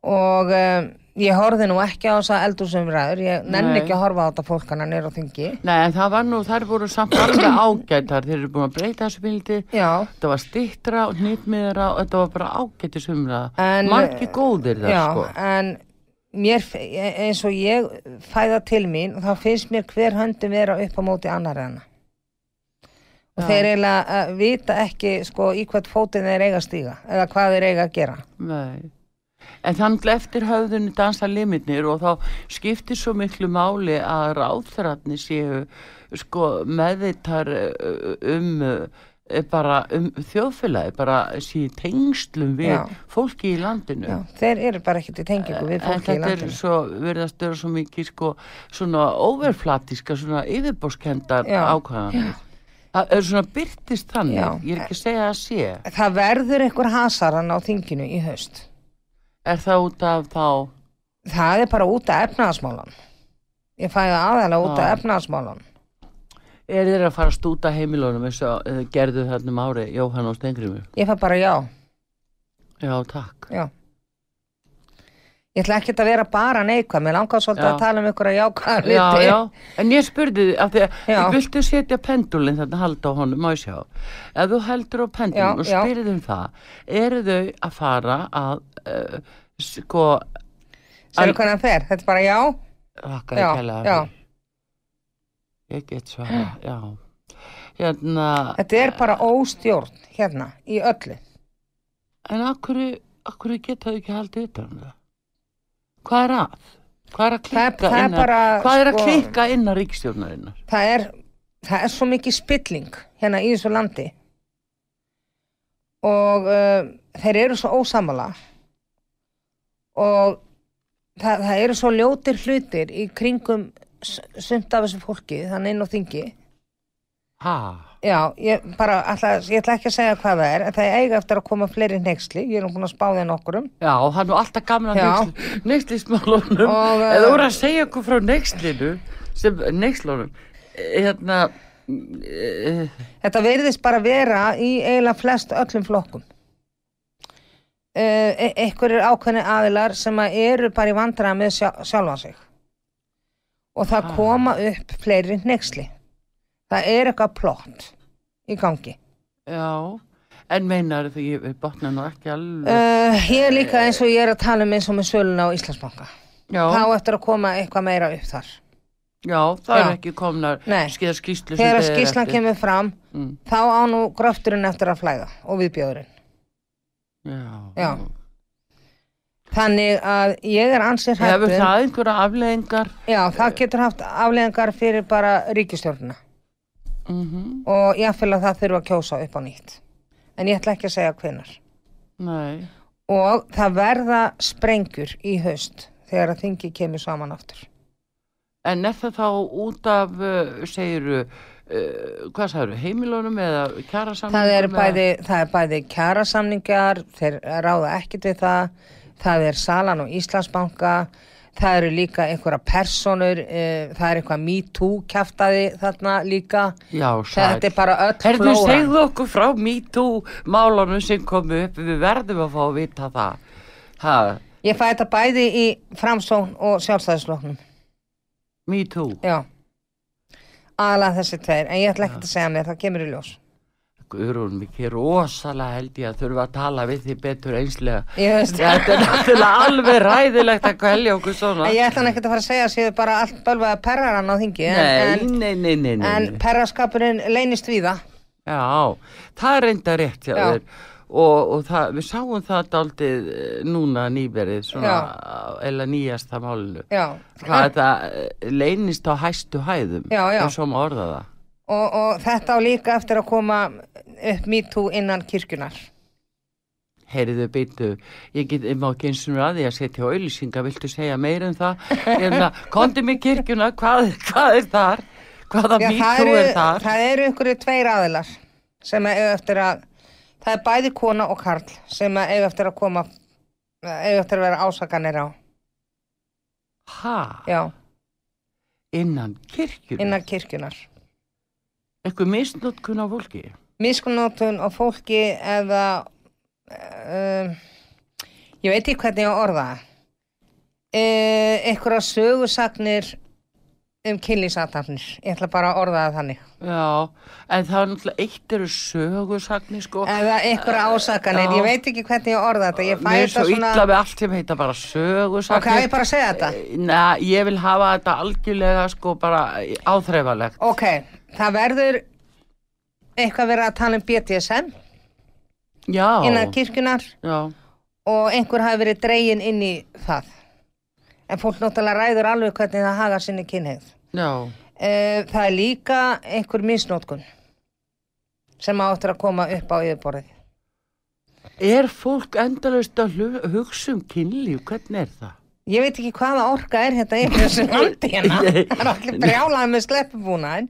Speaker 2: Og um, ég horfði nú ekki á þessa eldúsumræður. Ég nenni
Speaker 1: Nei.
Speaker 2: ekki að horfa á þetta fólkana nýra á þingi.
Speaker 1: Nei, en það var nú, þær voru samt alveg ágætar, þeir eru búin að breyta þessu bildi,
Speaker 2: Já,
Speaker 1: þetta var stittra og hnitmiðra og þetta var bara ágæti sumra.
Speaker 2: En- eh,
Speaker 1: Margi góðir það,
Speaker 2: já,
Speaker 1: sko.
Speaker 2: en mér, f- eins og ég fæða til mín, þá finnst mér hver höndum vera upp á móti annar enna.
Speaker 1: Já.
Speaker 2: Og þeir eiginlega eh, vita ekki sko í hvert fótið þeir eiga að stíga eða hvað þeir eiga að gera.
Speaker 1: Nei. En þannig eftir höfðunni dansa limitnir og þá skiptir svo miklu máli að ráðþrarni séu sko meðvitar uh, um uh, bara um þjóðfélagi, bara séu í tengslum við
Speaker 2: Já.
Speaker 1: fólki í landinu.
Speaker 2: Já, þeir eru bara ekkert í tengingu við
Speaker 1: En
Speaker 2: fólki í
Speaker 1: Eh, þetta er
Speaker 2: landinu.
Speaker 1: svo, verðast vera svo mikið sko, svona overflatíska, svona yfirbórskendar
Speaker 2: Já.
Speaker 1: ákvæðanir. Það er svona byrtist þannig,
Speaker 2: Já.
Speaker 1: ég er ekki að segja að sé.
Speaker 2: Það verður einhver hasaran á þinginu í haust.
Speaker 1: Er það út af þá,
Speaker 2: Það er bara út af efnaðasmálan. Ég fæði aðalega út af
Speaker 1: Já.
Speaker 2: efnaðasmálan.
Speaker 1: Er þeir að fara að stúta heimilunum eins og eh, gerðu þarna um ári, Jóhann og Stengrimur?
Speaker 2: Ég fæ bara já.
Speaker 1: Já, takk.
Speaker 2: Já. Ég ætla ekkert að vera bara neikvæð, mér langar svolítið
Speaker 1: Já.
Speaker 2: að tala um ykkur að jákvæða hluti.
Speaker 1: Já, já, en ég spurði þið, af því að
Speaker 2: Já.
Speaker 1: ég viltu setja pendulinn þarna halda á honum, má ég sjá. Ef þú heldur á
Speaker 2: Já,
Speaker 1: pendulinn og
Speaker 2: já.
Speaker 1: spyrir þau um það, eru þau að fara að, uh, sko,
Speaker 2: Sérðu hvernig hann fer, þetta er bara já,
Speaker 1: þakka
Speaker 2: já,
Speaker 1: ég kælega.
Speaker 2: já.
Speaker 1: Ég get svara, já. Hérna,
Speaker 2: Þetta er bara óstjórn hérna í öllu.
Speaker 1: en akkur, akkur geta þau ekki haldið utan um það? Hvað er að? Hvað er að
Speaker 2: Það, er-
Speaker 1: klikka
Speaker 2: það er
Speaker 1: innan?
Speaker 2: bara, sko-
Speaker 1: Hvað er að klikka innan ríkstjórnarinnar?
Speaker 2: það er, það er svo mikið spilling hérna í þessu landi og uh, þeir eru svo ósamala og það, það eru svo ljótir hlutir í kringum s- sumt af þessu fólki, þannig inn á þingi.
Speaker 1: Hæ?
Speaker 2: Já, ég bara ætla, ég ætla ekki að segja hvað það er en það eiga eftir að koma fleiri neyksli ég er nú búin að spá þeim nokkurum
Speaker 1: Já, hann er nú alltaf gamla
Speaker 2: Já.
Speaker 1: neykslismálunum.
Speaker 2: Og, eh,
Speaker 1: Eða voru að segja okkur frá neykslinu, sem neykslunum, hérna, eh,
Speaker 2: Þetta verðist bara vera í eiginlega flest öllum flokkum uh, Ekkur er ákveðni aðilar sem að eru bara í vandræða með sjá, sjálfa sig og það
Speaker 1: Ah.
Speaker 2: koma upp fleiri neyksli Það er eitthvað plott í gangi
Speaker 1: já, en meinar því ég botna nú ekki alveg.
Speaker 2: Eh, uh, Ég er líka eins og ég er að tala um eins og með söluna á Íslandsbanka
Speaker 1: já,
Speaker 2: þá eftir að koma eitthvað meira upp þar
Speaker 1: já, það
Speaker 2: Já.
Speaker 1: er ekki komnar
Speaker 2: Nei.
Speaker 1: skýða skýslu
Speaker 2: þegar að skýslan kemur fram
Speaker 1: Mm.
Speaker 2: þá á nú gröfturinn eftir að flæða og viðbjóðurinn
Speaker 1: já,
Speaker 2: Já. þannig að ég er ansið
Speaker 1: hefur
Speaker 2: hættu
Speaker 1: það einhverja afleðingar
Speaker 2: já, það getur haft afleðingar fyrir bara ríkistjórnina
Speaker 1: mm
Speaker 2: og ég fylg að það þurfa að kjósa upp á nýtt en ég ætla ekki að segja hvenar
Speaker 1: nei,
Speaker 2: og það verða sprengjur í haust þegar að þingi kemur saman aftur
Speaker 1: en er það þá út af uh, segiru Uh, hvað sagður, heimilunum eða kjara
Speaker 2: það er bæði, það er bæði kjarasamningar þeir ráða ekkit við það það er salan og Íslandsbanka það eru líka einhverja personur e, það er eitthvað me too kjaftaði þarna líka
Speaker 1: Já,
Speaker 2: þetta
Speaker 1: sæl
Speaker 2: er bara öll
Speaker 1: Herðu,
Speaker 2: flóran.
Speaker 1: segðu okkur frá MeToo málunum sem komu upp, við verðum að fá að vita það. Ha,
Speaker 2: ég fæ þetta bæði í framsón og sjálfstæðisloknum
Speaker 1: MeToo,
Speaker 2: já aðalega þessi tveir, en ég ætla ekkert að segja mér það kemur í ljós
Speaker 1: Guðrún, mikið rosalega held ég að þurfa að tala við því betur einslega.
Speaker 2: ég veist
Speaker 1: Þetta er náttúrulega alveg ræðilegt að kvelja okkur svona.
Speaker 2: En ég ætla hann ekkert að fara að segja að séu bara allt bölvaða perraran á þingi
Speaker 1: Nei,
Speaker 2: en,
Speaker 1: nei, nei, nei,
Speaker 2: en,
Speaker 1: nei.
Speaker 2: en perraskapurinn leynist við það
Speaker 1: Já, það er reynda rétt hjá
Speaker 2: Já.
Speaker 1: þér og, og það, við sáum það daldið núna nýberið svona, eða nýjasta málinu.
Speaker 2: já.
Speaker 1: Hvað þetta leynist á hæstu hæðum,
Speaker 2: Já, já.
Speaker 1: eins og maður orða það.
Speaker 2: Og, og þetta á líka eftir að koma upp mítú innan kirkjunar
Speaker 1: Heyriðu byttu, ég get, ég má ekki eins og að því að setja auðlýsinga, viltu segja meir en það? Hérna, kondi mig kirkjuna, hvað, hvað er þar? Hvaða
Speaker 2: Já,
Speaker 1: mýtú
Speaker 2: eru,
Speaker 1: er þar?
Speaker 2: það eru ykkur tveir aðilar sem að eiga eftir að það er bæði kona og karl sem að eiga eftir að koma eiga eftir að vera ásakanir á
Speaker 1: Ha,
Speaker 2: já,
Speaker 1: innan kirkjuna?
Speaker 2: innan kirkjunar
Speaker 1: Eitthvað misnótkun á fólki?
Speaker 2: miskunnótun og fólki eða um, ég veit ekki hvernig ég á að orða uh, einhverja sögusagnir um kynlísatafnir ég ætla bara að orða það þannig
Speaker 1: Já, en það er náttúrulega eitt eru sögursagnir sko.
Speaker 2: eða einhverja ásakanir,
Speaker 1: Já.
Speaker 2: ég veit ekki hvernig ég á að orða þetta ég fæ
Speaker 1: Mér er
Speaker 2: þetta
Speaker 1: svo
Speaker 2: svona
Speaker 1: illa með allt sem heita bara sögursagnir.
Speaker 2: ok, á ég bara að segja þetta
Speaker 1: Næ, ég vil hafa þetta algjörlega sko bara áþreifalegt.
Speaker 2: ok, það verður eitthvað verið að tala um BDSM
Speaker 1: Já,
Speaker 2: innan kirkjunar
Speaker 1: já,
Speaker 2: og einhver hafi verið dregin inn í það en fólk náttúrulega ræður alveg hvernig það hagar sinni kynheið
Speaker 1: já.
Speaker 2: Eh, Það er líka einhver misnótkun sem áttur að koma upp á yfirborðið.
Speaker 1: Er fólk endalaust að hlu- hugsa um kynlíf? Hvernig er það?
Speaker 2: Ég veit ekki hvaða orka er hérna yfir þessu landi hérna.
Speaker 1: Ég-
Speaker 2: Það er allir brjálaði með sleppubúnaðin.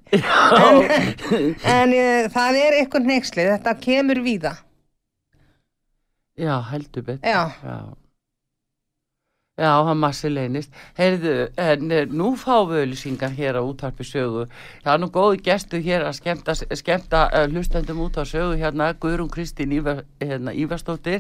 Speaker 2: En, en eh, það er einhver neykslið, þetta kemur víða.
Speaker 1: Já, heldur betur.
Speaker 2: Já.
Speaker 1: Já, Já, það massi leynist. Heyrðu, en eh, nú fáum við auðlýsingar hér á útarpi sögu. Það er nú góði gestu hér að skemmta, skemmta uh, hlustendum út á sögu hérna, Guðrún Kristín Ívar, hérna, Ívarsdóttir,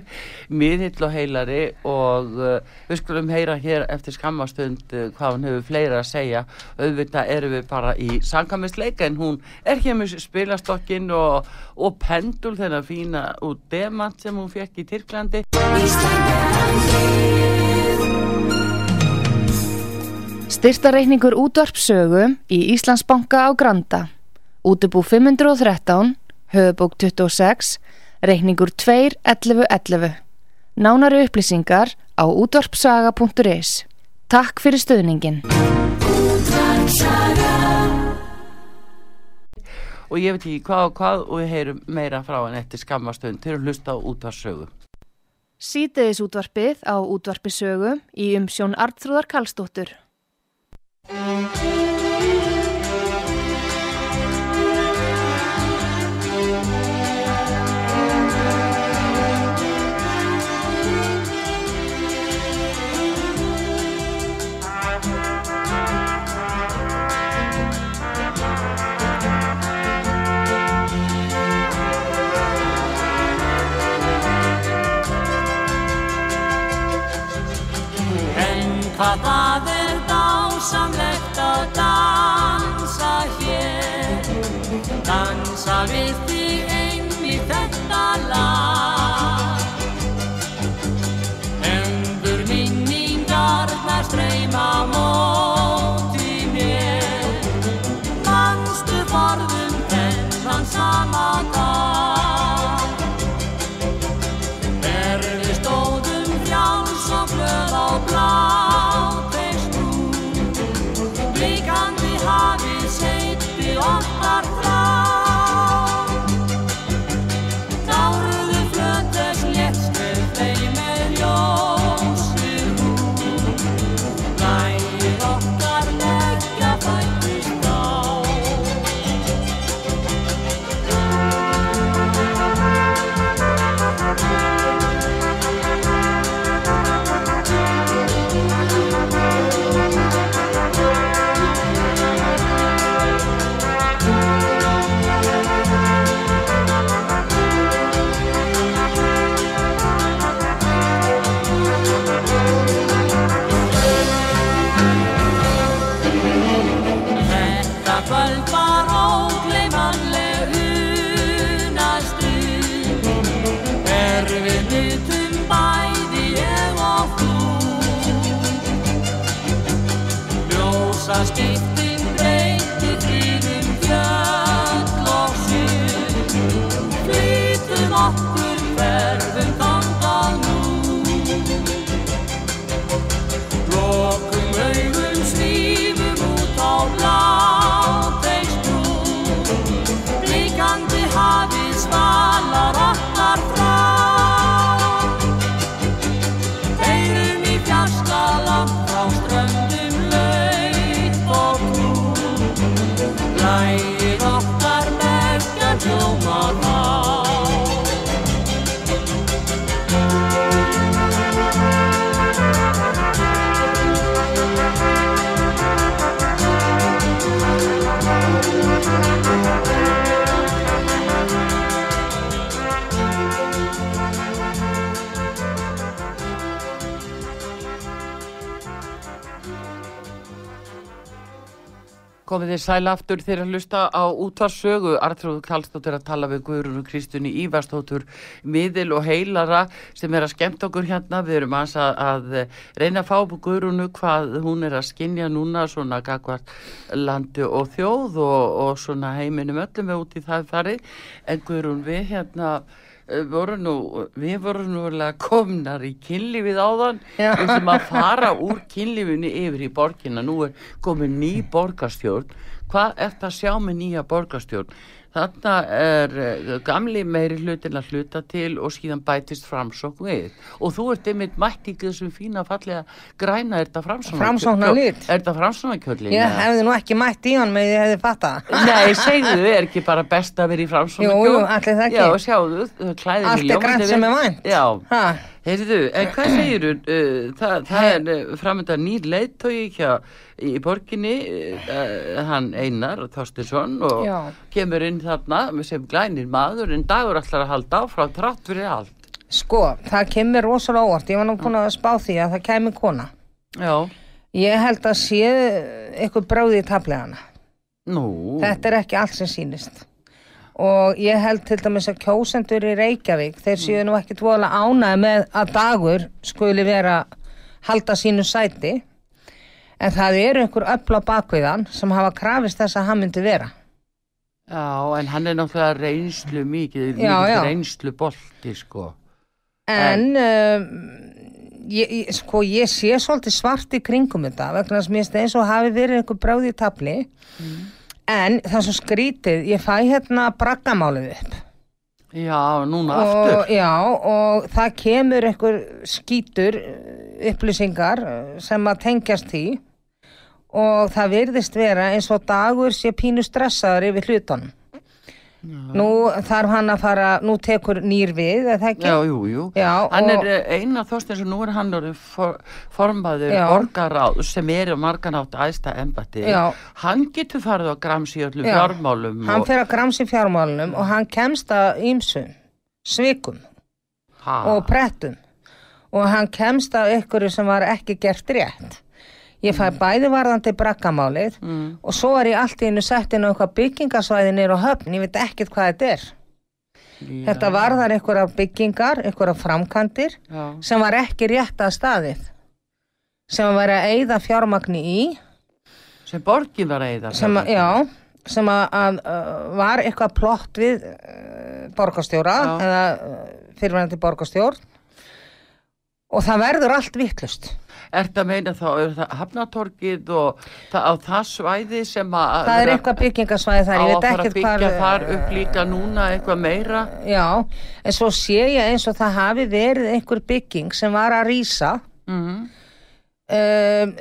Speaker 1: miðill og heilari og uh, við skulum heyra hér eftir skammastund uh, hvað hún hefur fleira að segja. Auðvitað erum við bara í sankamisleika en hún er hér með spilastokkin og, og pendul þennan fína út demant sem hún fekk í Tyrklandi.
Speaker 3: Styrtareikningur útvarpsögu í Íslandsbanka á Granda. Útibú 513, höfubók 26, reikningur 2 11 11. Nánari upplýsingar á útvarpsaga.is. Takk fyrir stöðningin.
Speaker 1: og ég veit ekki hvað og hvað og við heyrum meira frá hann eftir skammastund til að hlusta á útvarsögu.
Speaker 3: Sýteðis útvarpið á útvarpisögu í umsjón Arnþrúðar Karlsdóttur.
Speaker 4: En hvað það er dásamlegt að dansa hér Dansa við þig einn í þetta lag Endur minningarnar streyma hafi seyti okkar þrá Gáruðu flötes léttu þeim með ljósu hús Lægir okkar leggja fættist á Þetta kvöld var ógleymanleg unastu Er við nutum bæði ég og þú Ljósa skiptin breyti þínum fjöll og sjö Flýtum okkur verðum þangað nú Lokum augum svífum út á bláþeinsbrú Blikandi hafið svalar okkar frá Eyrum í fjarska langt á ströndum laut og knú Lægir okkar merkja hljómar á
Speaker 1: Komið þér sæl aftur þegar að hlusta á útvarsögu. Artrúð Kallstóttir að tala við Guðrun og Kristunni Ívarstóttur, miðil og heilara sem er að skemmta okkur hérna. Við erum aðeins að, að reyna að fá upp Guðrunu hvað hún er að skinja núna svona gagvart landu og þjóð og, og svona heiminum öllum er út í það farið. En Guðrun við hérna eh, voru nú, við vorum nú eiginlega komnar í kynlífið áðan
Speaker 2: Já.
Speaker 1: við sem að fara úr kynlífunni yfir í borginna. Nú er komin ný borgarstjórn. Hvað er það að sjá með nýja borgarstjórn? Þarna er eh, gamli meiri hlutin að hluta til og síðan bætist framsókn við. Og þú ert einmitt mætt í þessum fína fallega græna, er þetta framsóknarkjörn?
Speaker 2: Framsóknarlit.
Speaker 1: Er þetta framsóknarkjörlin?
Speaker 2: Ég hefði nú ekki mætt í hann með ég hefði fattað. það.
Speaker 1: Nei, segðu, er ekki bara best að vera í framsóknarkjörn?
Speaker 2: Jú, jú, ætli það ekki.
Speaker 1: Já, sjáðu, klæðin
Speaker 2: Allt er grænt sem er vænt.
Speaker 1: Já,
Speaker 2: Ha,
Speaker 1: Heyrðu, en hvað segir þú? það, það er framöndan nýr leiðtói hjá í borginni, uh, hann Einar Þorstinsson og
Speaker 2: Já.
Speaker 1: kemur inn þarna sem glænir maður en dagur allar að halda áfram trátt fyrir allt.
Speaker 2: Sko, það kemur rosalega óvart. Ég var nú búin að spá því að það kæmi kona.
Speaker 1: Já,
Speaker 2: Ég held að sé eitthvað bráði í taflegana.
Speaker 1: nú,
Speaker 2: Þetta er ekki allt sem sýnist. Og ég held til dæmis að kjósendur í Reykjavík, þeir séu nú ekki tvoðlega ánæði með að dagur skuli vera halda sínu sæti. En það eru einhver öfla bakviðan sem hafa krafist þess að hann myndi vera.
Speaker 1: já, en hann er náttúrulega reynslu mikið,
Speaker 2: Já, já.
Speaker 1: mikið reynslu bolti, sko.
Speaker 2: En um, ég, ég, sko, ég sé svolítið svart í kringum þetta vegna þess að mér finnst eins og hafi verið einhver bráði í tafli. En það sem skrítið, ég fæ hérna braggamálið upp.
Speaker 1: Já, núna
Speaker 2: og,
Speaker 1: aftur.
Speaker 2: já, og það kemur einhver skítur eh, upplýsingar eh, sem að tengjast því og það virðist vera eins og dagur sé pínu stressaður yfir hlutunum. Nú þarf hann að fara, nú tekur nýr við, eða það ekki?
Speaker 1: Já, jú, jú.
Speaker 2: Já,
Speaker 1: hann er
Speaker 2: og-
Speaker 1: eh, Einar Þorstinsson, nú er hann orðið for, formaður
Speaker 2: Já.
Speaker 1: borgaráð sem er á marganátt æðsta embati.
Speaker 2: Já.
Speaker 1: Hann getur farið á grams í öllum
Speaker 2: Já.
Speaker 1: fjármálum
Speaker 2: Hann
Speaker 1: og
Speaker 2: fer að gramsi fjármálunum og hann kemst að ýmsum, svikum
Speaker 1: ha,
Speaker 2: og prettum og hann kemst að ykkur sem var ekki gert rétt. Ég fæ bæði varðandi braggamálið
Speaker 1: Mm,
Speaker 2: og svo er ég allt í einu sett inn á eitthvað byggingasvæði nýr á höfn, ég veit ekkert hvað þetta er.
Speaker 1: já,
Speaker 2: Þetta varðar ykkur af byggingar, ykkur af framkantir
Speaker 1: já,
Speaker 2: sem var ekki rétt að staðið, sem var að eyða fjármagni í,
Speaker 1: sem borgin var að eigða.
Speaker 2: sem, að, já, sem að, að uh, var eitthvað plott við uh, borgarstjóra
Speaker 1: Já.
Speaker 2: eða uh, fyrirvændi borgarstjórn og það verður allt vittlust.
Speaker 1: Ert að meina þá er það hafnatorkið og það, á það svæði sem að...
Speaker 2: Það er eitthvað byggingasvæði
Speaker 1: á
Speaker 2: þar,
Speaker 1: að
Speaker 2: ég veit
Speaker 1: fara að
Speaker 2: ekkert
Speaker 1: byggja
Speaker 2: hvar- uh,
Speaker 1: þar upp líka núna eitthvað meira.
Speaker 2: Já, en svo sé ég eins og það hafi verið einhver bygging sem var að rýsa
Speaker 1: Mm.
Speaker 2: um,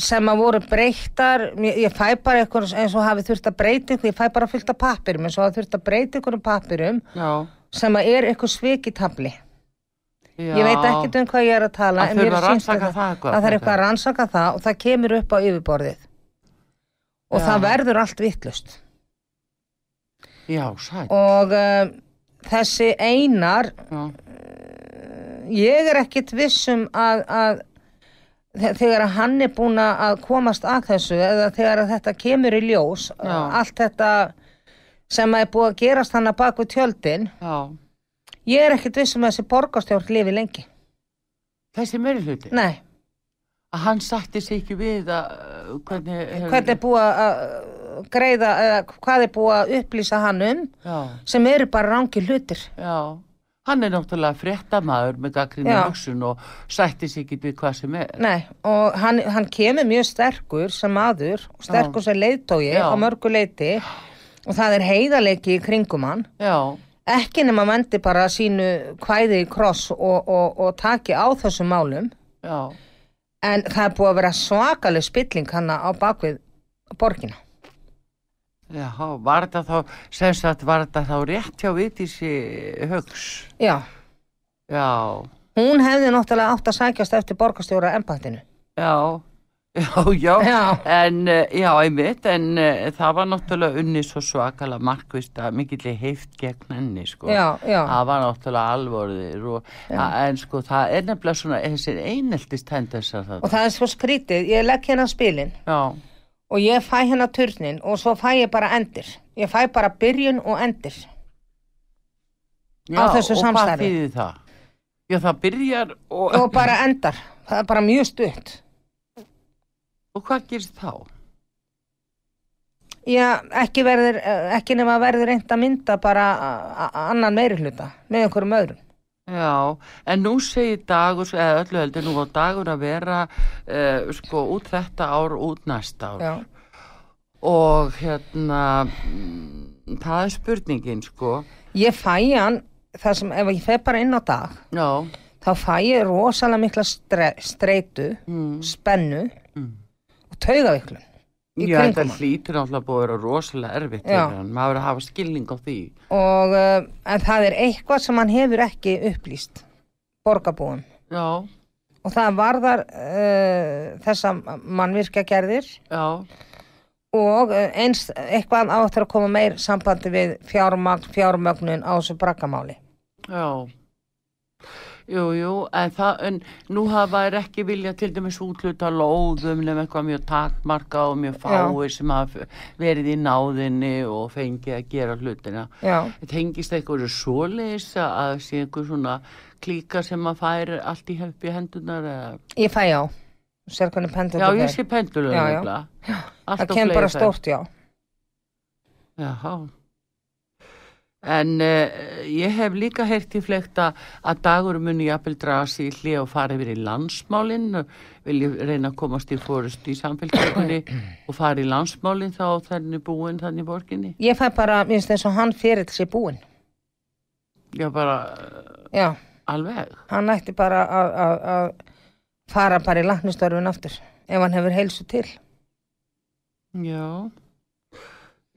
Speaker 2: sem að voru breyttar mér- ég fæ bara eitthvað eins og hafi þurft að breyta eitthvað, ég fæ bara fullt af pappirum eins og hafi þurft að breyta eitthvað pappirum
Speaker 1: Já,
Speaker 2: sem að er eitthvað svikitabli
Speaker 1: já.
Speaker 2: ég veit ekkert um hvað ég er að tala
Speaker 1: Að
Speaker 2: en mér
Speaker 1: þurfa að
Speaker 2: sýnst
Speaker 1: rannsaka
Speaker 2: þetta-
Speaker 1: það eitthvað
Speaker 2: að það er
Speaker 1: frekar.
Speaker 2: eitthvað að rannsaka það og það kemur upp á yfirborðið og
Speaker 1: Já.
Speaker 2: það verður allt vittlust um-
Speaker 1: Já, sætt.
Speaker 2: og um, þessi einar
Speaker 1: Já.
Speaker 2: ég er ekkit vissum að, að þe- þegar að hann er búin að komast að þessu eða þegar að þetta kemur í ljós
Speaker 1: Já.
Speaker 2: allt þetta sem er búið að gerast hann að bak við tjöldin
Speaker 1: já.
Speaker 2: ég er ekkit vissum að þessi borgarstjórn lifi lengi
Speaker 1: Þessi meiri hluti.
Speaker 2: nei,
Speaker 1: Að hann sætti sig ekki við að uh, hvernig...
Speaker 2: hvernig er búið að uh, greiða eða hvað er búið að upplýsa hann um
Speaker 1: Já,
Speaker 2: sem eru bara rangi hlutir
Speaker 1: já. Hann er náttúrulega fréttamaður með gaggrinni
Speaker 2: Já.
Speaker 1: hugsun og sætti sig ekki við hvað sem er.
Speaker 2: Nei, og hann, hann kemur mjög sterkur sem maður, og sterkur sem leiðtógi
Speaker 1: Já.
Speaker 2: á mörgu leiti og það er heiðarleiki í kringum hann
Speaker 1: Já,
Speaker 2: ekki nema vendi bara sínu kvæði í kross og, og, og taki á þessum málum
Speaker 1: já.
Speaker 2: en það er búið að vera svakaleg spilling hann á bakvið borgina
Speaker 1: Já, var þetta þá, sem sagt, var þetta þá rétt hjá Vigdísi Hauks?
Speaker 2: Já,
Speaker 1: Já,
Speaker 2: hún hefði náttúrulega átt að sækjast eftir borgarstjóra embættinu
Speaker 1: já, já, já,
Speaker 2: Já.
Speaker 1: en eh, já, einmitt, en eh, það var náttúrulega unni svo svakalega markvist að mikilli heift gegn henni, sko.
Speaker 2: Já, já.
Speaker 1: Það var náttúrulega alvorðir og, a, en sko, það er nefnilega svona, þessir eineltist hendensar
Speaker 2: og
Speaker 1: það.
Speaker 2: það er svo skrítið, ég legg hérna spilin
Speaker 1: Já,
Speaker 2: og ég fæ hérna turnin og svo fæ ég bara endir ég fæ bara byrjun og endir
Speaker 1: já,
Speaker 2: þessu
Speaker 1: og
Speaker 2: samstarfi.
Speaker 1: hvað þýðir það? Já, það byrjar og,
Speaker 2: og bara endar það er bara mjög stutt
Speaker 1: og hvað gerist þá?
Speaker 2: Já, ekki, verður, eh, ekki nema verður reynd að mynda bara a- a- annan meiri hluta með einhverjum öðrum
Speaker 1: Já, en nú segir dagur, eða öllu heldur, nú á dagur að vera uh, sko út þetta ár, út næsta ár
Speaker 2: Já,
Speaker 1: og hérna, mm, það er spurningin sko,
Speaker 2: ég fæ hann það sem ef ég fer bara inn á dag
Speaker 1: já,
Speaker 2: þá fæ ég rosalega mikla stre, streitu
Speaker 1: mm.
Speaker 2: spennu
Speaker 1: Mm.
Speaker 2: og taugaviklun í
Speaker 1: já þetta
Speaker 2: kringum hann.
Speaker 1: hlýtur náttúrulega búið að vera rosalega erfitt
Speaker 2: Já.
Speaker 1: fyrir hann, maður verður að hafa skilning á því,
Speaker 2: og uh, en það er eitthvað sem hann hefur ekki upplýst borgarbúum
Speaker 1: já,
Speaker 2: og það varðar uh, þessa mannvirkja gerðir
Speaker 1: já,
Speaker 2: og eh, eins eitthvað á eftir að koma meir sambandi við fjármagn, fjármögnun á þessu braggamáli.
Speaker 1: já. Jú, jú, en, það, en nú hafa er ekki vilja til dæmis útluta lóðum nefn eitthvað mjög takmarka og mjög fáir sem hafa verið í náðinni og fengið að gera hlutina.
Speaker 2: Já,
Speaker 1: Þetta hengist eitthvað svoleiðis að að sé einhver svona klíka sem að fær allt í hefpi hendunar eða...
Speaker 2: ég fæ já. Þú Sér hvernig pendur
Speaker 1: Já, ég sé pendulum
Speaker 2: Já, já.
Speaker 1: nefnilega.
Speaker 2: Það kemur bara stórt já.
Speaker 1: Jáhá. En uh, ég hef líka heyrt í flekta að dagur muni jafnvel draga sig í hlið og fara yfir í landsmálin vil ég reyna að komast í fórust í samfélkingunni og fara í landsmálin þá þenni búin þannig í borginni.
Speaker 2: Ég fæ bara, mér finnst eins og hann fyrir sér búinn.
Speaker 1: Já, bara eh,
Speaker 2: Já,
Speaker 1: alveg.
Speaker 2: hann ætti bara að- að að fara bara í læknistörfun aftur ef hann hefur heilsu til.
Speaker 1: Já.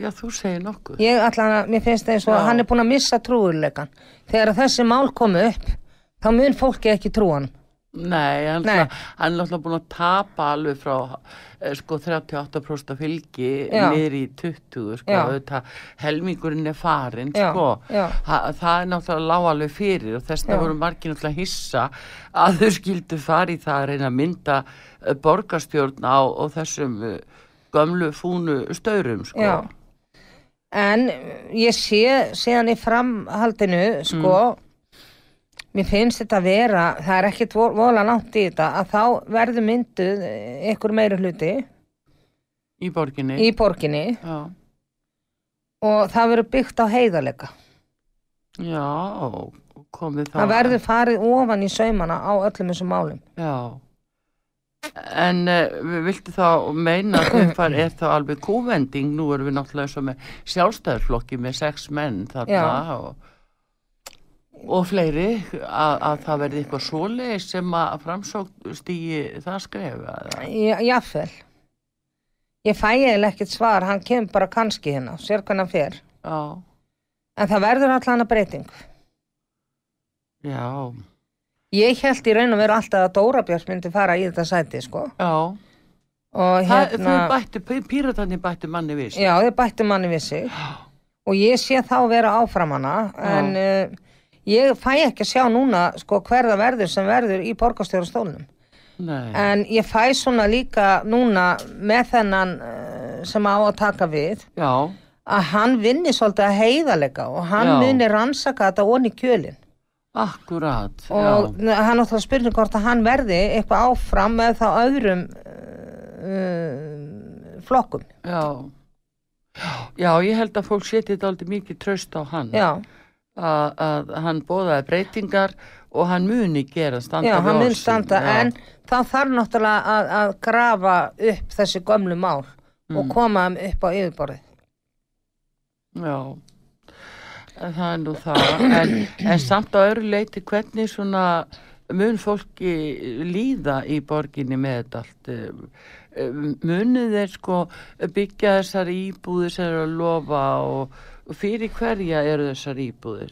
Speaker 1: Já, þú segir nokkuð.
Speaker 2: Ég allan að, mér finnst eins og
Speaker 1: Já.
Speaker 2: hann er búinn að missa trúurleikan. Þegar þessi mál komu upp, þá mun fólki ekki trú hann.
Speaker 1: Nei, hann
Speaker 2: Nei.
Speaker 1: er náttúrulega búin að tapa alveg frá eh, sko 38% af fylgi
Speaker 2: Já.
Speaker 1: niður í 20 sko,
Speaker 2: Já.
Speaker 1: auðvitað helmingurinn er farinn
Speaker 2: Já,
Speaker 1: sko,
Speaker 2: já.
Speaker 1: Þa, það er náttúrulega lág alveg fyrir og þess
Speaker 2: Já.
Speaker 1: vegna voru margir náttúrulega hissa að þau skildu fari það að reyna að mynda eh, borgarstjórn á, á þessum eh, gömlu fúnu staurum sko.
Speaker 2: Já. En ég sé síðan í framhaldinu, sko, mér finnst þetta vera, það er ekkit vo- vola langt í þetta, að þá verður mynduð eh, einhver meiri hluti
Speaker 1: í borginni
Speaker 2: í borginni
Speaker 1: Já,
Speaker 2: og það verður byggt á heiðarleika.
Speaker 1: já komið það
Speaker 2: Það verður farið ofan í saumana á öllum þessum málum.
Speaker 1: Já, En uh, viltu þá meina að uppfar er þá alveg kúvending, nú erum við náttúrulega eins og með sjálfstæðarflokki með sex menn þarna
Speaker 2: Já.
Speaker 1: og, og fleiri að, að það verði eitthvað svoleið sem að framsókn stígi það skref. eða?
Speaker 2: Já- Jafnvel. Ég fæ eiginlega ekkert svar, hann kemur bara kannski hérna, sér hvernig hann fer.
Speaker 1: Já,
Speaker 2: En það verður allan að breyting.
Speaker 1: já,
Speaker 2: Ég held í raun og veru alltaf að Dóra Björns myndi fara í þetta sæti, sko.
Speaker 1: já.
Speaker 2: Og
Speaker 1: Það,
Speaker 2: hérna,
Speaker 1: þau bættu, píratarnir bættu manni við sig.
Speaker 2: já, þau bættu manni við sig. Og ég sé þá vera áfram hana, en uh, ég fæ ekki að sjá núna, sko, hver það verður sem verður í borgarstjórastólnum.
Speaker 1: Nei,
Speaker 2: En ég fæ svona líka núna með þennan uh, sem á að taka við,
Speaker 1: já,
Speaker 2: að hann vinni svolítið að heiðalega og hann
Speaker 1: Já.
Speaker 2: muni rannsaka þetta onni kjölinn.
Speaker 1: akkurat,
Speaker 2: og
Speaker 1: já,
Speaker 2: n- hann náttúrulega spurning hvort að hann verði eitthvað áfram með þá öðrum uh, flokkum
Speaker 1: já. Já, ég held að fólk setið þetta aldrei mikið tröst á hann.
Speaker 2: já,
Speaker 1: að, að hann bóðaði breytingar og hann muni gera standa
Speaker 2: já,
Speaker 1: við
Speaker 2: hann
Speaker 1: orð
Speaker 2: mun
Speaker 1: sín,
Speaker 2: standa
Speaker 1: já.
Speaker 2: en þá þarf náttúrulega að, að grafa upp þessi gömlu mál
Speaker 1: Mm.
Speaker 2: og koma þeim upp á yfirborðið
Speaker 1: já, En það er nú það en, en samt á öðru leiti hvernig svona mun fólki líða í borginni með þetta allt Um, um, munið þeir sko byggja þessar íbúðir sem eru að lofa og og fyrir hverja eru þessar íbúðir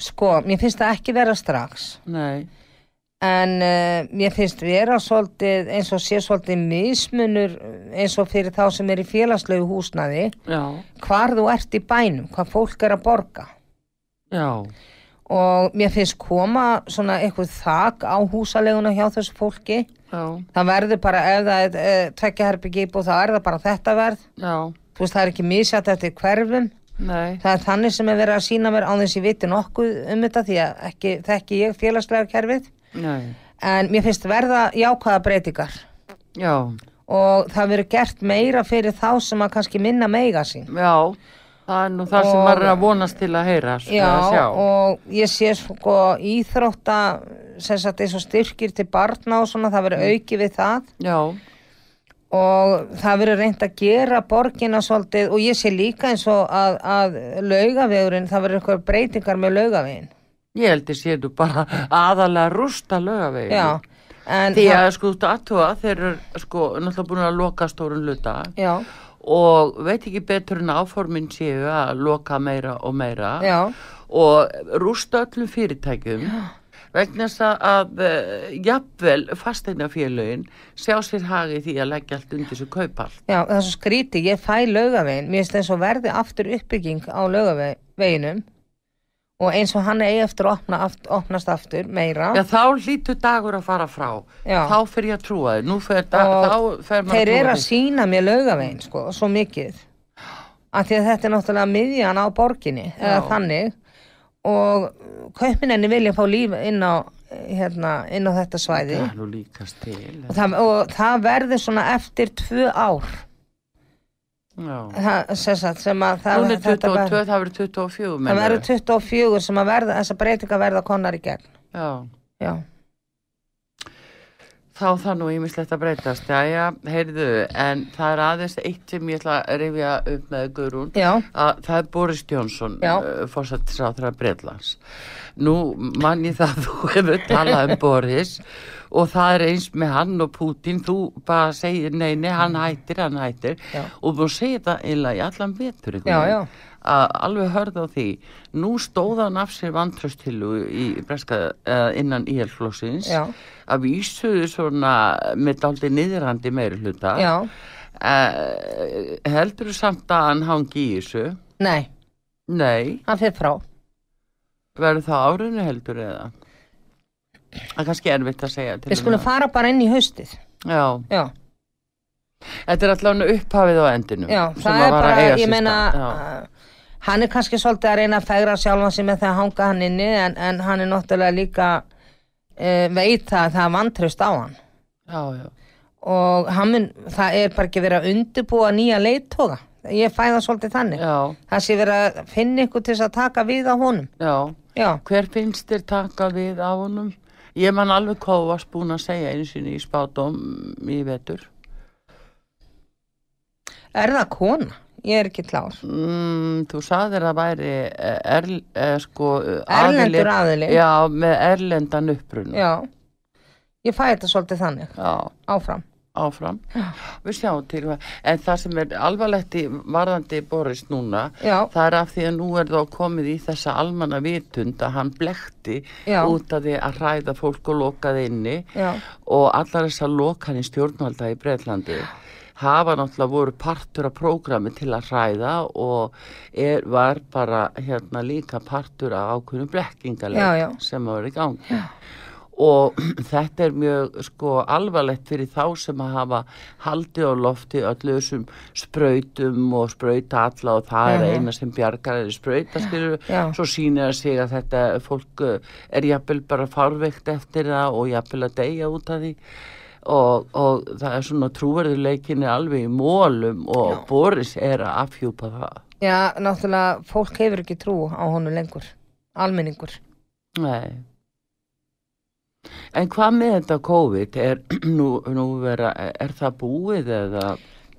Speaker 2: sko, mér finnst það ekki vera strax
Speaker 1: nei,
Speaker 2: en uh, mér finnst vera svolítið eins og sé svolítið mismunur eh, eins og fyrir þá sem er í félagslegu húsnaði
Speaker 1: já,
Speaker 2: hvar þú ert í bænum, hvað fólk er að borga
Speaker 1: já
Speaker 2: og mér finnst koma svona eitthvað þak á húsaleguna hjá þessu fólki
Speaker 1: já,
Speaker 2: það verður bara ef það er tvekja herbyggi íbúð þá er það bara þetta verð
Speaker 1: já,
Speaker 2: þú veist það er ekki misjætt eftir hverfum
Speaker 1: nei
Speaker 2: það er þannig sem er verið að sína mér á þess ég viti nokkuð um þetta því að ekki, þekki ég félagslega kerfið
Speaker 1: nei,
Speaker 2: en mér finnst verða jákvæða breytingar
Speaker 1: já,
Speaker 2: og það verður gert meira fyrir þá sem að kannski minna meiga sín
Speaker 1: Já, það er nú það sem
Speaker 2: Og-
Speaker 1: maður er að vonast til að heyra sko, að sjá.
Speaker 2: Já, og ég sé sko íþrótta sem sagt eins og styrkir til barna og svona, það verður aukið við það
Speaker 1: Já,
Speaker 2: og það verður reynd að gera borgina svolítið og ég sé líka eins og að, að laugavegurinn, það verður eitthvað breytingar með laugavegin.
Speaker 1: ég held ég sé nú bara aðalega að rústa lögavegin.
Speaker 2: Já, en
Speaker 1: Því að
Speaker 2: það-
Speaker 1: sko út að aðtúa þeir eru sko náttúrulega búin að loka stórun hluta
Speaker 2: já,
Speaker 1: og veit ekki betur en að áformin séu að loka meira og meira
Speaker 2: já,
Speaker 1: og rústa öllum fyrirtækjum vegna þess að- að eh, jafnvel fasteignafélögin sjá sér hagið því að leggja allt undir þessu kaupall.
Speaker 2: já, það er svo skríti, ég fæ laugavegin, mér finnst eins og verði aftur uppbygging á laugaveginum og eins og hann eigi eftir að opna, aft, opnast aftur meira.
Speaker 1: Já, þá hlýtur dagur að fara frá.
Speaker 2: Já.
Speaker 1: Þá fer ég að trúa þið. Nú fer, da,
Speaker 2: og
Speaker 1: þá fer maður
Speaker 2: þeir
Speaker 1: að
Speaker 2: eru
Speaker 1: trúa
Speaker 2: að sína mér laugavegin sko, svo mikið af því að þetta er náttúrulega miðjan á borginni eða
Speaker 1: Já.
Speaker 2: þannig og kaupinenni vilja fá líf inn á, hérna, inn á þetta svæði
Speaker 1: Það er nú líkast til.
Speaker 2: og það, og það verður svona eftir tvö ár
Speaker 1: Já.
Speaker 2: það, sem, sagt, sem að það,
Speaker 1: Hún er
Speaker 2: þetta
Speaker 1: 22,
Speaker 2: verður-
Speaker 1: það verður 24
Speaker 2: það
Speaker 1: mennur.
Speaker 2: verður 24 sem að verða, þessa breytinga verða konar í gegn
Speaker 1: Já.
Speaker 2: já,
Speaker 1: Þá það nú ímislegt að breytast. Jæja, heyrðu, en það er aðeins eitt sem ég ætla að rifja upp með Guðrún.
Speaker 2: já,
Speaker 1: Að það er Boris Jónsson,
Speaker 2: Já.
Speaker 1: fórsættisráþra Breitlands. Nú mann ég það að þú hefur talað um Boris og það er eins með hann og Putin, þú bara segir nei, nei, hann hættir, hann hættir
Speaker 2: Mm. Já.
Speaker 1: og þú segir það eiginlega í allan vetur einhvern
Speaker 2: Já,
Speaker 1: veginn.
Speaker 2: já.
Speaker 1: að alveg hörð á því. Nú stóð hann af sér vantröstilu í breska uh, innan íhjálflóksins
Speaker 2: Já.
Speaker 1: að vísuðu svona með daldi niðrandi meiri hluta
Speaker 2: já
Speaker 1: uh, heldur samt að hann hangi í þessu
Speaker 2: nei,
Speaker 1: nei
Speaker 2: hann fyrir frá
Speaker 1: verður það á árinu heldur eða það er kannski erfitt að segja til
Speaker 2: við
Speaker 1: um
Speaker 2: skulum
Speaker 1: það.
Speaker 2: fara bara inn í haustið
Speaker 1: já,
Speaker 2: já
Speaker 1: þetta er allavega upphafið á endinum
Speaker 2: já,
Speaker 1: sem
Speaker 2: það
Speaker 1: að
Speaker 2: er
Speaker 1: var að
Speaker 2: bara,
Speaker 1: eiga
Speaker 2: ég
Speaker 1: sér
Speaker 2: meina
Speaker 1: stað. já.
Speaker 2: uh, hann er kannski svolítið að reyna að fegra sjálfan sig með það að hanga hann inni en, en hann er náttúrulega líka uh, veit það að það er vantraust á hann
Speaker 1: Já, já.
Speaker 2: og hann mun, það er bara ekki verið að undirbúa nýja leittóga ég fæ það svolítið þannig
Speaker 1: Já,
Speaker 2: það sé verið að finna ykkur til þess að taka við á honum
Speaker 1: já.
Speaker 2: já,
Speaker 1: hver finnst þér taka við á honum Ég man alveg hvað þú varst búin að segja einu sinni í spátum í vetur.
Speaker 2: Er það kona? Ég er ekki klár.
Speaker 1: Mm, þú saðir að væri eh, er, er, sko, eh,
Speaker 2: Erlendur
Speaker 1: aðili-
Speaker 2: aðili.
Speaker 1: Já, með erlendan uppruna.
Speaker 2: Já. Ég fæ þetta svolítið þannig.
Speaker 1: Já,
Speaker 2: Áfram.
Speaker 1: áfram. Við sjáum til hvað. En það sem er alvarlegt í varðandi Boris núna,
Speaker 2: Já.
Speaker 1: það er af því að nú er þá komið í þessa almanna vitund að hann blekti
Speaker 2: Já.
Speaker 1: út af því að hræða fólk og lokaði inni
Speaker 2: Já.
Speaker 1: og allar þessar lokanir stjórnvalda í Breitlandi hafa náttúrulega voru partur af prógrami til að hræða og er, var bara hérna líka partur af ákveðnum
Speaker 2: Já, já.
Speaker 1: blekkingarleik sem að vera í gangi. Og þetta er mjög sko alvarlegt fyrir þá sem að hafa haldið á lofti öllu þessum sprautum og sprauta alla og það er eina sem bjargar er sprauta skilur,
Speaker 2: já.
Speaker 1: svo sýnir að sig að þetta fólk uh, er jafnvel bara farveikt eftir það og jafnvel að deyja út af því og, og það er svona trúverðuleikin er alveg í mólum og Boris er að afhjúpa það.
Speaker 2: Já, náttúrulega, fólk hefur ekki trú á honum lengur. Almenningur.
Speaker 1: Nei. En hvað með þetta COVID? Er, nú, nú vera, er það búið eða?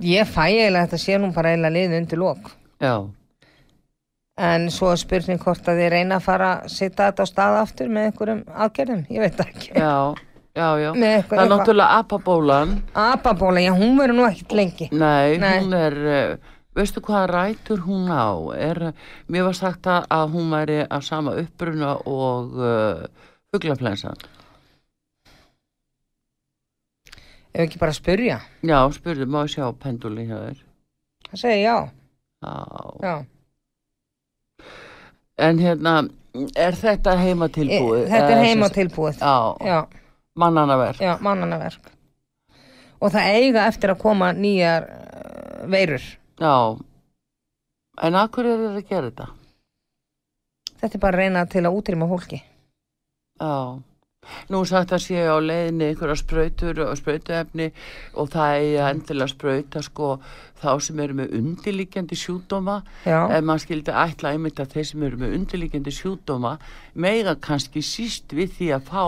Speaker 2: Ég fæ eiginlega að þetta sé nú bara eiginlega liðið undir lók.
Speaker 1: Já,
Speaker 2: En svo er spurning hvort að ég reyna að fara að setja þetta á stað aftur með einhverjum aðgerðum. Ég veit það ekki.
Speaker 1: já, já, já.
Speaker 2: Með eitthvað-
Speaker 1: það er náttúrulega apabólan.
Speaker 2: Ababóla, já, hún verður nú ekkert lengi.
Speaker 1: Nei,
Speaker 2: Nei.
Speaker 1: hún er, eh, veistu hvað rætur hún á? Er, mér var sagt að- að hún væri af sama uppruna og uh, fuglaflensan.
Speaker 2: Ef ekki bara að spurja.
Speaker 1: Já, spurðu, má ég sjá pendulin hjá þér?
Speaker 2: Það segir já.
Speaker 1: Já.
Speaker 2: já.
Speaker 1: En hérna, er þetta heima
Speaker 2: E,
Speaker 1: tilbúið?
Speaker 2: þetta er heima tilbúið.
Speaker 1: Já, já.
Speaker 2: Já,
Speaker 1: mannanaverk.
Speaker 2: já, mannanaverk. Og það eiga eftir að koma nýjar uh, veirur.
Speaker 1: Já, en að hverju er þetta að gera þetta?
Speaker 2: Þetta er bara að reyna til að útrýma fólki.
Speaker 1: Já, nú er sagt að séu á leiðinni einhverja sprautur og sprautuefni og það eigi að endilega sprauta sko þá sem eru með undirlíkjandi sjúdóma
Speaker 2: Já.
Speaker 1: ef maður skildi ætla einmitt að þeir sem eru með undirlíkjandi sjúdóma mega kannski síst við því að fá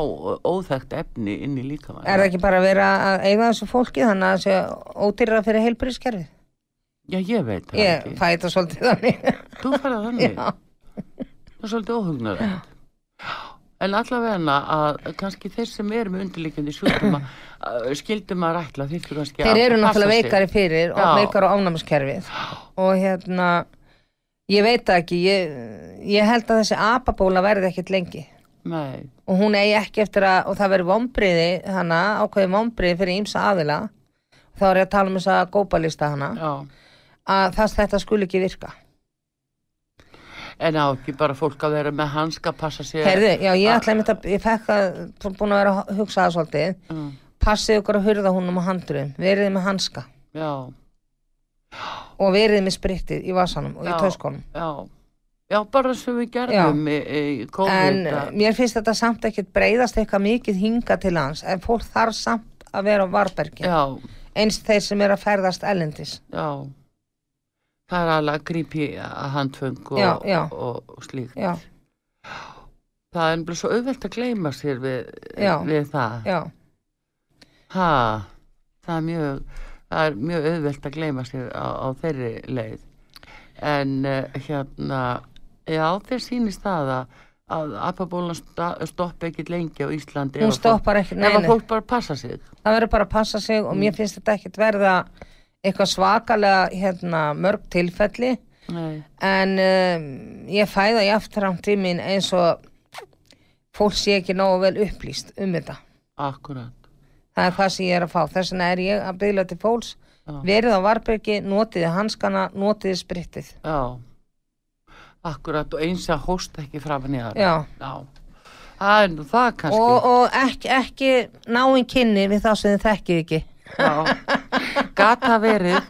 Speaker 1: óþægt efni inn í líkamann.
Speaker 2: Er það ekki bara að vera að eiga þessu fólki þannig að það sé ódýrra fyrir heilbyrðiskerfið?
Speaker 1: Já, ég veit það
Speaker 2: Ég
Speaker 1: ekki.
Speaker 2: fæ þetta svolítið þannig.
Speaker 1: Þú færða þannig. Það er svolítið óhugnulegt. En allavega að kannski þeir sem eru með undirleikjandi sjúkdóma uh, skildum að rætla þyrftu kannski
Speaker 2: Þeir
Speaker 1: að
Speaker 2: eru
Speaker 1: passa
Speaker 2: náttúrulega
Speaker 1: sig.
Speaker 2: veikari fyrir og
Speaker 1: Já.
Speaker 2: veikari á ánámskerfið. Og hérna, ég veit það ekki, ég, ég held að þessi apabóla verði ekkit lengi.
Speaker 1: Nei,
Speaker 2: Og hún eigi ekki eftir að, og það verði vombriði hana, ákveði vombriði fyrir ímsa aðila. Þá er ég að tala um þessa góbalista hana,
Speaker 1: já.
Speaker 2: að það þetta skuli ekki virka.
Speaker 1: En á ekki bara fólk að vera með hanska passa sér.
Speaker 2: Herðu, já, ég
Speaker 1: Ah.
Speaker 2: ætla einmitt að, ég fekk að, búin að vera að hugsa það svolítið.
Speaker 1: Mm,
Speaker 2: passið ykkur að hurða húnum á handurum verið með hanska
Speaker 1: Já,
Speaker 2: og verið með sprittið í vasanum og í
Speaker 1: Já.
Speaker 2: töskunum
Speaker 1: já. Já, bara sem við gerðum í, í
Speaker 2: en eh, mm,
Speaker 1: COVID. að-
Speaker 2: mér finnst þetta samt ekkert breyðast eitthvað mikið hinga til hans en fólk þarf samt að vera á varbergi
Speaker 1: Já,
Speaker 2: eins þeir sem eru að ferðast ellendis
Speaker 1: já. Það er alveg að grípi að handfeng og,
Speaker 2: Já, já.
Speaker 1: og, og slíkt.
Speaker 2: já,
Speaker 1: Það er bara svo auðvelt að gleyma sér við,
Speaker 2: Já.
Speaker 1: við það.
Speaker 2: já,
Speaker 1: Ha, það er mjög, það er mjög auðvelt að gleyma sér á, á þeirri leið. En uh, hérna, já, þeir sýnist það að, að apabólan sta- stoppi ekkit lengi á Íslandi.
Speaker 2: hún
Speaker 1: ef að
Speaker 2: stoppar
Speaker 1: fólk-
Speaker 2: ekki
Speaker 1: Ef að
Speaker 2: neinu,
Speaker 1: fólk bara passa sig.
Speaker 2: það verður bara að passa sig og
Speaker 1: Mm.
Speaker 2: mér finnst þetta ekkert verða eitthvað svakalega hérna, mörg tilfelli
Speaker 1: Nei,
Speaker 2: en um, ég fæða í aftramt í mín eins og fólk sé ekki nógu vel upplýst um þetta
Speaker 1: akkurat.
Speaker 2: það er það sem ég er að fá þess vegna er ég að byggla til fólks
Speaker 1: Já.
Speaker 2: verið á varbergi, notiði hanskana notiði sprittið
Speaker 1: Já, akkurat og eins að hósta ekki framan í það.
Speaker 2: Já.
Speaker 1: Já, það er nú það kannski.
Speaker 2: og, og ekki, ekki náinn kynni við þá sem þið þekkið ekki
Speaker 1: Já, gata verið,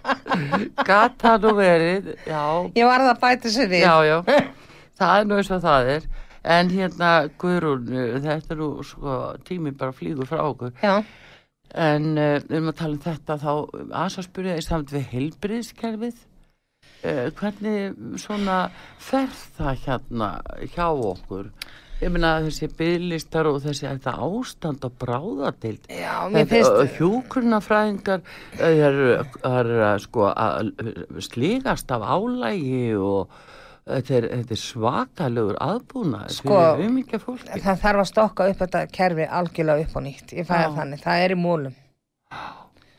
Speaker 1: gata nú verið, já,
Speaker 2: ég varð að bæta sér við
Speaker 1: já, já, það er nú eins og það er en hérna Guðrún eh, þetta er nú sko tími bara flýgur frá okkur
Speaker 2: Já.
Speaker 1: en eh, um að tala um þetta þá aðs að spyrja í samt við Eh, heilbriðskerfið uh, hvernig svona fer það hérna hjá okkur ég meina þessi bygglistar og þessi þetta ástand og bráðadeild
Speaker 2: Já, mér
Speaker 1: Þetta-
Speaker 2: finnst,
Speaker 1: hjúkrunafræðingar eh, eru er, er, sko að slígast af álægi og þetta er, þetta er svakalögur aðbúna
Speaker 2: Sko,
Speaker 1: fyrir umingja fólki
Speaker 2: það þarf að stokka upp þetta kerfi algjörlega upp á nýtt. Ég fæði
Speaker 1: Já.
Speaker 2: þannig, það er í múlum.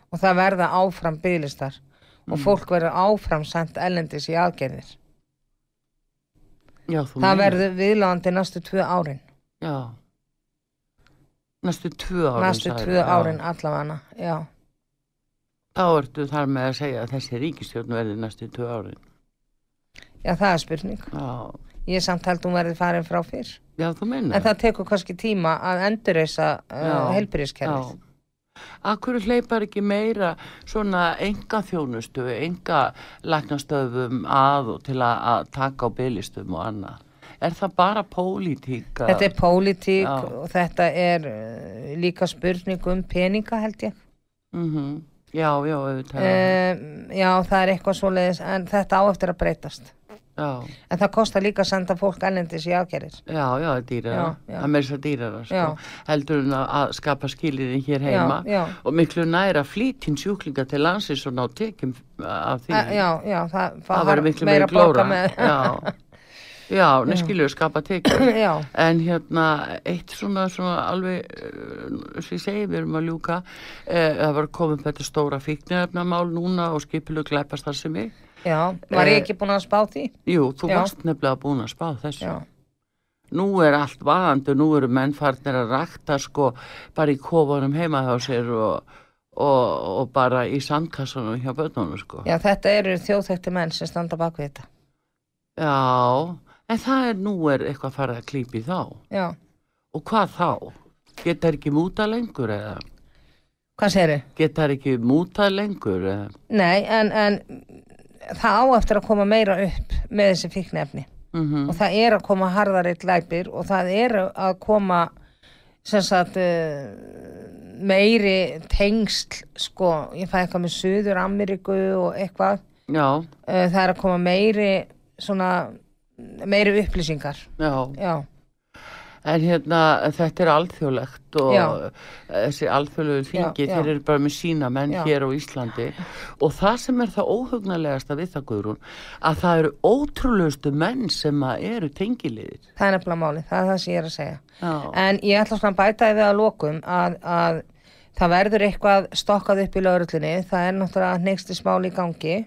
Speaker 2: Og það verða áfram bygglistar
Speaker 1: Mm.
Speaker 2: og fólk verður áfram sendt ellendis í aðgerðir.
Speaker 1: Já, þú
Speaker 2: Það
Speaker 1: meinar.
Speaker 2: verður viðlóðandi næstu tvö árin.
Speaker 1: Já Næstu tvö árin
Speaker 2: næstu
Speaker 1: sagðir,
Speaker 2: tvö
Speaker 1: já.
Speaker 2: árin allavega, já.
Speaker 1: Þá ertu þar með að segja að þessi ríkistjórn verði næstu tvö árin
Speaker 2: Já, það er spurning.
Speaker 1: Já,
Speaker 2: Ég samt held hún verði farin frá fyrr.
Speaker 1: já þú
Speaker 2: En
Speaker 1: minna
Speaker 2: það tekur kannski tíma að endurreysa uh, helbriðiskerfið.
Speaker 1: Akkur hleypar ekki meira svona enga þjónustu, enga læknastöfum að og til að, að taka á bylistum og annað. Er það bara pólitík? að-
Speaker 2: Þetta er pólitík
Speaker 1: Já.
Speaker 2: og þetta er uh, líka spurning um peninga held ég.
Speaker 1: Mhm. Já, já, auðvitað.
Speaker 2: Um, já, það er eitthvað svoleiðis en þetta á eftir að breytast.
Speaker 1: já,
Speaker 2: En það kostar líka að senda fólk ellendis í aðgerðir.
Speaker 1: já, já, það er dýrara.
Speaker 2: Já, já.
Speaker 1: Það er meira svo dýrara, sko.
Speaker 2: Já.
Speaker 1: Heldur en að, að skapa skilirinn hér heima.
Speaker 2: já.
Speaker 1: Og miklu næra flýtin sjúklinga til landsins og ná tekjum eh, af því.
Speaker 2: A, Eh, já, já, það,
Speaker 1: það verður miklu meira
Speaker 2: meira
Speaker 1: glóra.
Speaker 2: borga með.
Speaker 1: Já, já, neskilur skapa tekjum.
Speaker 2: já,
Speaker 1: En hérna, eitt svona, svona alveg, eh, sem ég segi, við erum að ljúka, eh, það var komið upp þetta stóra fíknefnamál núna og skipilu glæpast þar sem ég.
Speaker 2: já, var
Speaker 1: Eh,
Speaker 2: ég ekki búin að spá því?
Speaker 1: Jú, þú
Speaker 2: Já.
Speaker 1: varst nefnilega búin að spá þessu.
Speaker 2: Já,
Speaker 1: Nú er allt vaðandi, nú eru mennfarnir að rakta sko bara í kofunum heima hjá sér og, og, og bara í sandkassanum hjá börnunum sko.
Speaker 2: já þetta eru þjóðþekti menn sem standa bak við þetta.
Speaker 1: Já, en það er, nú er eitthvað farið að klípa í þá.
Speaker 2: Já,
Speaker 1: Og hvað þá? Geta þær ekki múta lengur eða?
Speaker 2: hvað segirðu?
Speaker 1: Geta þær ekki múta lengur eða?
Speaker 2: Nei, en, en það á eftir að koma meira upp með þessi fíknefni.
Speaker 1: Mhm.
Speaker 2: og það er að koma harðari glæpir og það er að koma sem sagt eh, meiri tengsl sko, ég fæði eitthvað með Suður Ameríku og eitthvað
Speaker 1: Já,
Speaker 2: Eh, það er að koma meiri svona, meiri upplýsingar
Speaker 1: já,
Speaker 2: já,
Speaker 1: en hérna þetta er alþjóðlegt og
Speaker 2: Já.
Speaker 1: þessi alþjóðlegu þingi,
Speaker 2: Já, já.
Speaker 1: þeir eru bara með sína menn
Speaker 2: Já.
Speaker 1: hér á Íslandi og það sem er það óhugnalegasta við það Guðrún, að það eru ótrúlegustu menn sem að eru tengiliðir.
Speaker 2: það er nefnilega máli það er það sem ég er að segja
Speaker 1: Já,
Speaker 2: en ég ætla svona að bæta því við að lokum að, að það verður eitthvað stokkað upp í laurullinni, það er náttúrulega neykstis mál í gangi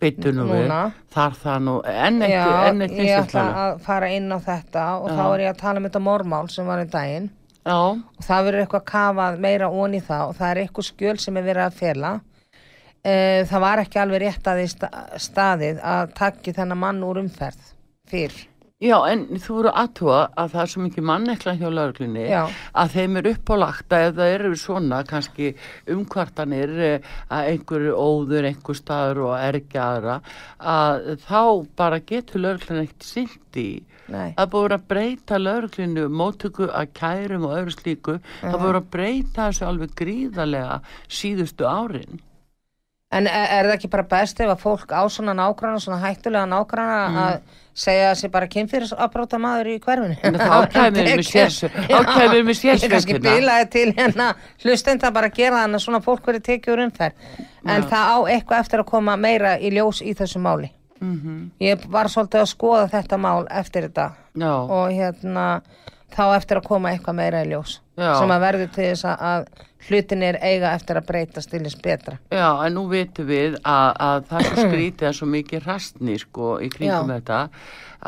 Speaker 1: byttu nú við,
Speaker 2: núna.
Speaker 1: þar það nú, enn eitt,
Speaker 2: Já,
Speaker 1: enn eitt
Speaker 2: ég ætla
Speaker 1: nýstastlega.
Speaker 2: að fara inn á þetta og
Speaker 1: Já.
Speaker 2: þá er ég að tala um þetta mormál sem var í daginn
Speaker 1: Já,
Speaker 2: og það verður eitthvað kafað meira ón í það og það er eitthvað skjöl sem er verið að fela uh, það var ekki alveg rétt að því sta staðið að takki þennan mann úr umferð fyrr
Speaker 1: Já, en þú voru aðtúa að það er svo mikið mannekla hjá laurglunni
Speaker 2: Já.
Speaker 1: að þeim er uppálagt að ef það eru svona kannski umkvartanir eh, að einhverju óður, einhver staður og ergi aðra að þá bara getur laurglun eitt sinnt í
Speaker 2: Nei.
Speaker 1: að búið að breyta lauruglinu móttöku að kærum og öðru slíku það búið að breyta þessu alveg gríðarlega síðustu árin
Speaker 2: en er, er það ekki bara best ef að fólk á svona nágrann svona hættulega nágrann
Speaker 1: Mm.
Speaker 2: að segja að sé bara kynfyrir að bróta maður í hverfinu
Speaker 1: En þá kæmir með sérs- þá kæmir með
Speaker 2: Já, ég kannski
Speaker 1: sérsveitina.
Speaker 2: bilaði til hérna hlustenda bara að gera þannig að svona fólk verið tekið úr umferð en það á eitthvað eftir að koma meira í ljós í þessu máli
Speaker 1: Mhm.
Speaker 2: ég var svolítið að skoða þetta mál eftir þetta
Speaker 1: Já,
Speaker 2: og hérna þá á eftir að koma eitthvað meira í ljós
Speaker 1: Já.
Speaker 2: sem að verður til þess að- að hlutinir eiga eftir að breytast til þess betra
Speaker 1: Já, en nú vitum við að, að það er svo skrítið að svo mikið rastni sko í kringum
Speaker 2: Já.
Speaker 1: þetta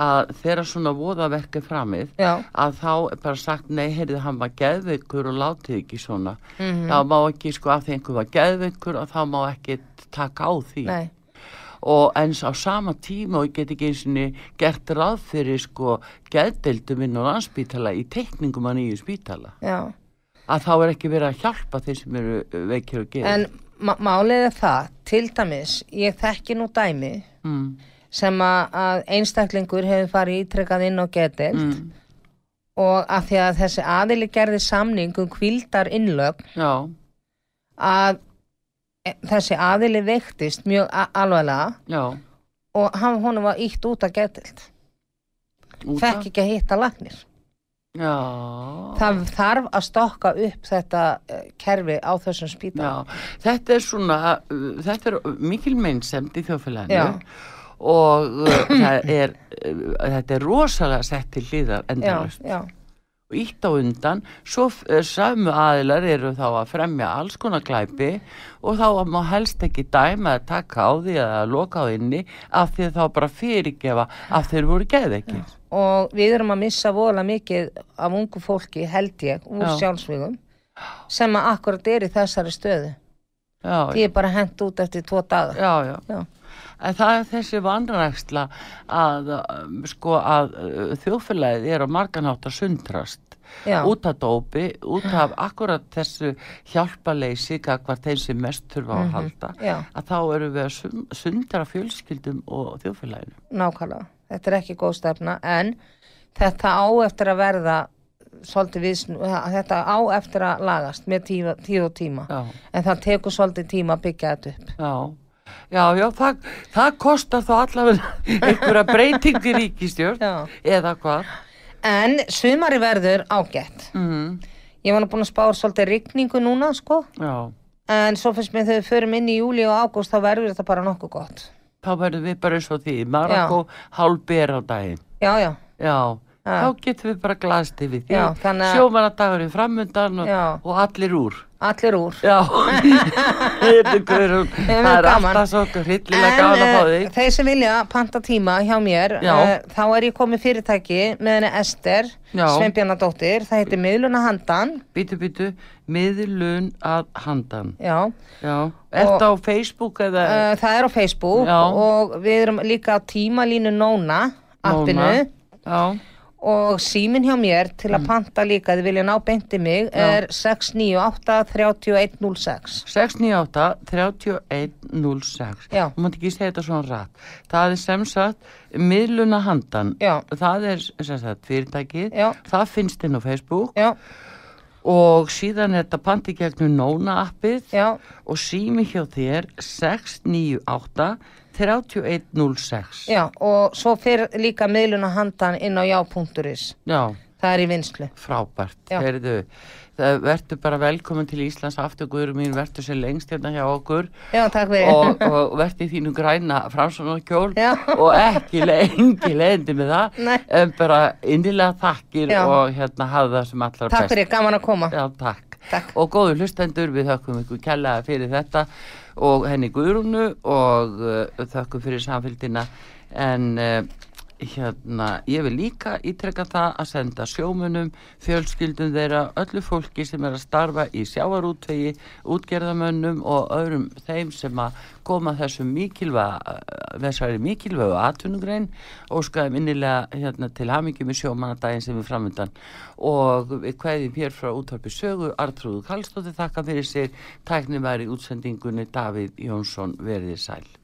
Speaker 1: að þegar svona voðaverk er framið
Speaker 2: Já.
Speaker 1: að þá er bara sagt nei, heyrðu, hann var geðveikur og látið ekki svona.
Speaker 2: Mhm.
Speaker 1: Þá má ekki sko að því einhver var geðveikur og þá má ekki taka á því.
Speaker 2: Nei.
Speaker 1: Og eins á sama tíma og ég get ekki eins og gert ráð fyrir sko geðdeildum inn á landspítala í teikningum að nýju spítala.
Speaker 2: Já.
Speaker 1: Að þá er ekki verið að hjálpa þeir sem eru uh, veikir og geðir.
Speaker 2: en ma- málið er það til dæmis, ég þekki nú dæmi
Speaker 1: Mm.
Speaker 2: sem að, að einstaklingur hefur farið ítrekkað inn á getelt
Speaker 1: Mm.
Speaker 2: og að því að þessi aðili gerði samning um kvildar innlögn
Speaker 1: Já,
Speaker 2: að e, þessi aðili veiktist mjög a- alvarlega
Speaker 1: já.
Speaker 2: og hann honum var ítt út að getelt
Speaker 1: Út af-
Speaker 2: fekk ekki að hitta lagnir
Speaker 1: Já.
Speaker 2: Það þarf að stokka upp þetta eh, kerfi á þessum spýta.
Speaker 1: Já, þetta er svona, uh, þetta er mikil meinsemd í þjóðfélaginu
Speaker 2: Já.
Speaker 1: og uh, það er, uh, þetta er rosalega sett til hliðar endalaust
Speaker 2: já,
Speaker 1: og ítt á undan, svo f- eh, sömu aðilar eru þá að fremja alls konar glæpi og þá má helst ekki dæma að taka á því eða að loka á inni af því að þá bara fyrirgefa af þeir voru geðveikir.
Speaker 2: og við erum að missa vola mikið af ungu fólki, held ég, úr
Speaker 1: Já.
Speaker 2: sjálfsvígum sem að akkurat er í þessari stöðu.
Speaker 1: Já,
Speaker 2: Því er bara hent út eftir tvo daga.
Speaker 1: já, já.
Speaker 2: Já.
Speaker 1: En það er þessi vanræksla að, um, sko, að uh, þjóðfélagið er á marganátt að sundrast
Speaker 2: Já.
Speaker 1: út af dópi, út af akkurat þessu hjálpaleysi hvað þeim sem mest þurfa
Speaker 2: Mhm.
Speaker 1: á að halda
Speaker 2: Já.
Speaker 1: að þá erum við að sun- sundra fjölskyldum og þjóðfélaginu.
Speaker 2: Nákvæmlega. Þetta er ekki góð stefna en þetta á eftir að verða svolítið viðsnú, þetta á eftir að lagast með tíma, tíð og tíma.
Speaker 1: Já.
Speaker 2: En það tekur svolítið tíma að byggja þetta upp.
Speaker 1: Já, já, já það, það kostar þá allavega einhverja breytingi ríkistjórn
Speaker 2: Já.
Speaker 1: eða hvað.
Speaker 2: En sumari verður ágætt.
Speaker 1: Mm,
Speaker 2: Ég var nú búin að spára svolítið rigningu núna, sko.
Speaker 1: já,
Speaker 2: En svo finnst mér þegar við förum inn í júli og ágúst þá verður þetta bara nokkuð gott.
Speaker 1: þá verðum við bara eins og því, Marokko hálfber á daginn.
Speaker 2: Já, já,
Speaker 1: Já,
Speaker 2: Já.
Speaker 1: þá getum við bara glast yfir því.
Speaker 2: Já, þannig að-
Speaker 1: Sjómanadagurinn framundan og,
Speaker 2: Já.
Speaker 1: og allir úr.
Speaker 2: allir úr.
Speaker 1: Já, þetta er Guðrún.
Speaker 2: Hefur
Speaker 1: Það er
Speaker 2: gaman.
Speaker 1: alltaf svo hryllilega gaman að
Speaker 2: eh,
Speaker 1: fá þig.
Speaker 2: þeir sem vilja panta tíma hjá mér,
Speaker 1: Já.
Speaker 2: eh, þá er ég komið fyrirtæki með henni Ester,
Speaker 1: Já.
Speaker 2: Sveinbjarnadóttir, það heitir Miðluna Handan,
Speaker 1: Bítu, bítu, miðlun að handan.
Speaker 2: já,
Speaker 1: Já, ertu á Facebook eða?
Speaker 2: Eh, það er á Facebook
Speaker 1: Já.
Speaker 2: og við erum líka á tímalínu Nóna, appinu
Speaker 1: Nóna? Mm. Já,
Speaker 2: og síminn hjá mér til að panta líka, þið vilja ná beinti mig, er 698-3106.
Speaker 1: 698 3106.
Speaker 2: Já.
Speaker 1: Þú mátt ekki segja þetta svona rætt. Það er sem sagt miðluna handan.
Speaker 2: Já.
Speaker 1: Það er sem sagt fyrirtækið.
Speaker 2: Já.
Speaker 1: Það finnst inn á Facebook.
Speaker 2: Já,
Speaker 1: og síðan er þetta panti gegnum Nóna appið
Speaker 2: já,
Speaker 1: og sími hjá þér 698 3106
Speaker 2: já, og svo fyrir líka Miðluna Handan inn á já.is,
Speaker 1: Já,
Speaker 2: það er í vinslu.
Speaker 1: frábært,
Speaker 2: Já.
Speaker 1: heyrðu það verður bara velkomin til Íslands aftur Guður mín, verður sér lengst hérna hjá okkur
Speaker 2: Já, takk fyrir.
Speaker 1: og, og verður í þínu græna framsvonarkjól
Speaker 2: Já.
Speaker 1: og ekki lengi leðindi með það
Speaker 2: Nei.
Speaker 1: en bara innilega þakkir
Speaker 2: Já.
Speaker 1: og hérna hafa það sem allar
Speaker 2: Takk
Speaker 1: best
Speaker 2: fyrir, gaman að koma.
Speaker 1: Já, takk.
Speaker 2: Takk.
Speaker 1: Og góðu hlustendur, við þökkum ykkur kjallaða fyrir þetta og henni Guðrúnu og uh, þökkum fyrir samfélgina. En uh, hérna, ég vil líka ítrekka það að senda sjómunum, fjölskyldum þeirra, öllu fólki sem er að starfa í sjávarútvegi, útgerðamönnum og öðrum þeim sem að koma þessum mikilvæga, eh, þessari mikilvægu atvinnugrein og skoðum innilega hérna, til hamingjum í sjómanadaginn sem er framöndan og við kveðjum hér frá útvarpi sögu Artrúðu Kallstóttir þakka fyrir sér tæknum í útsendingunni Davíð Jónsson verðið sæl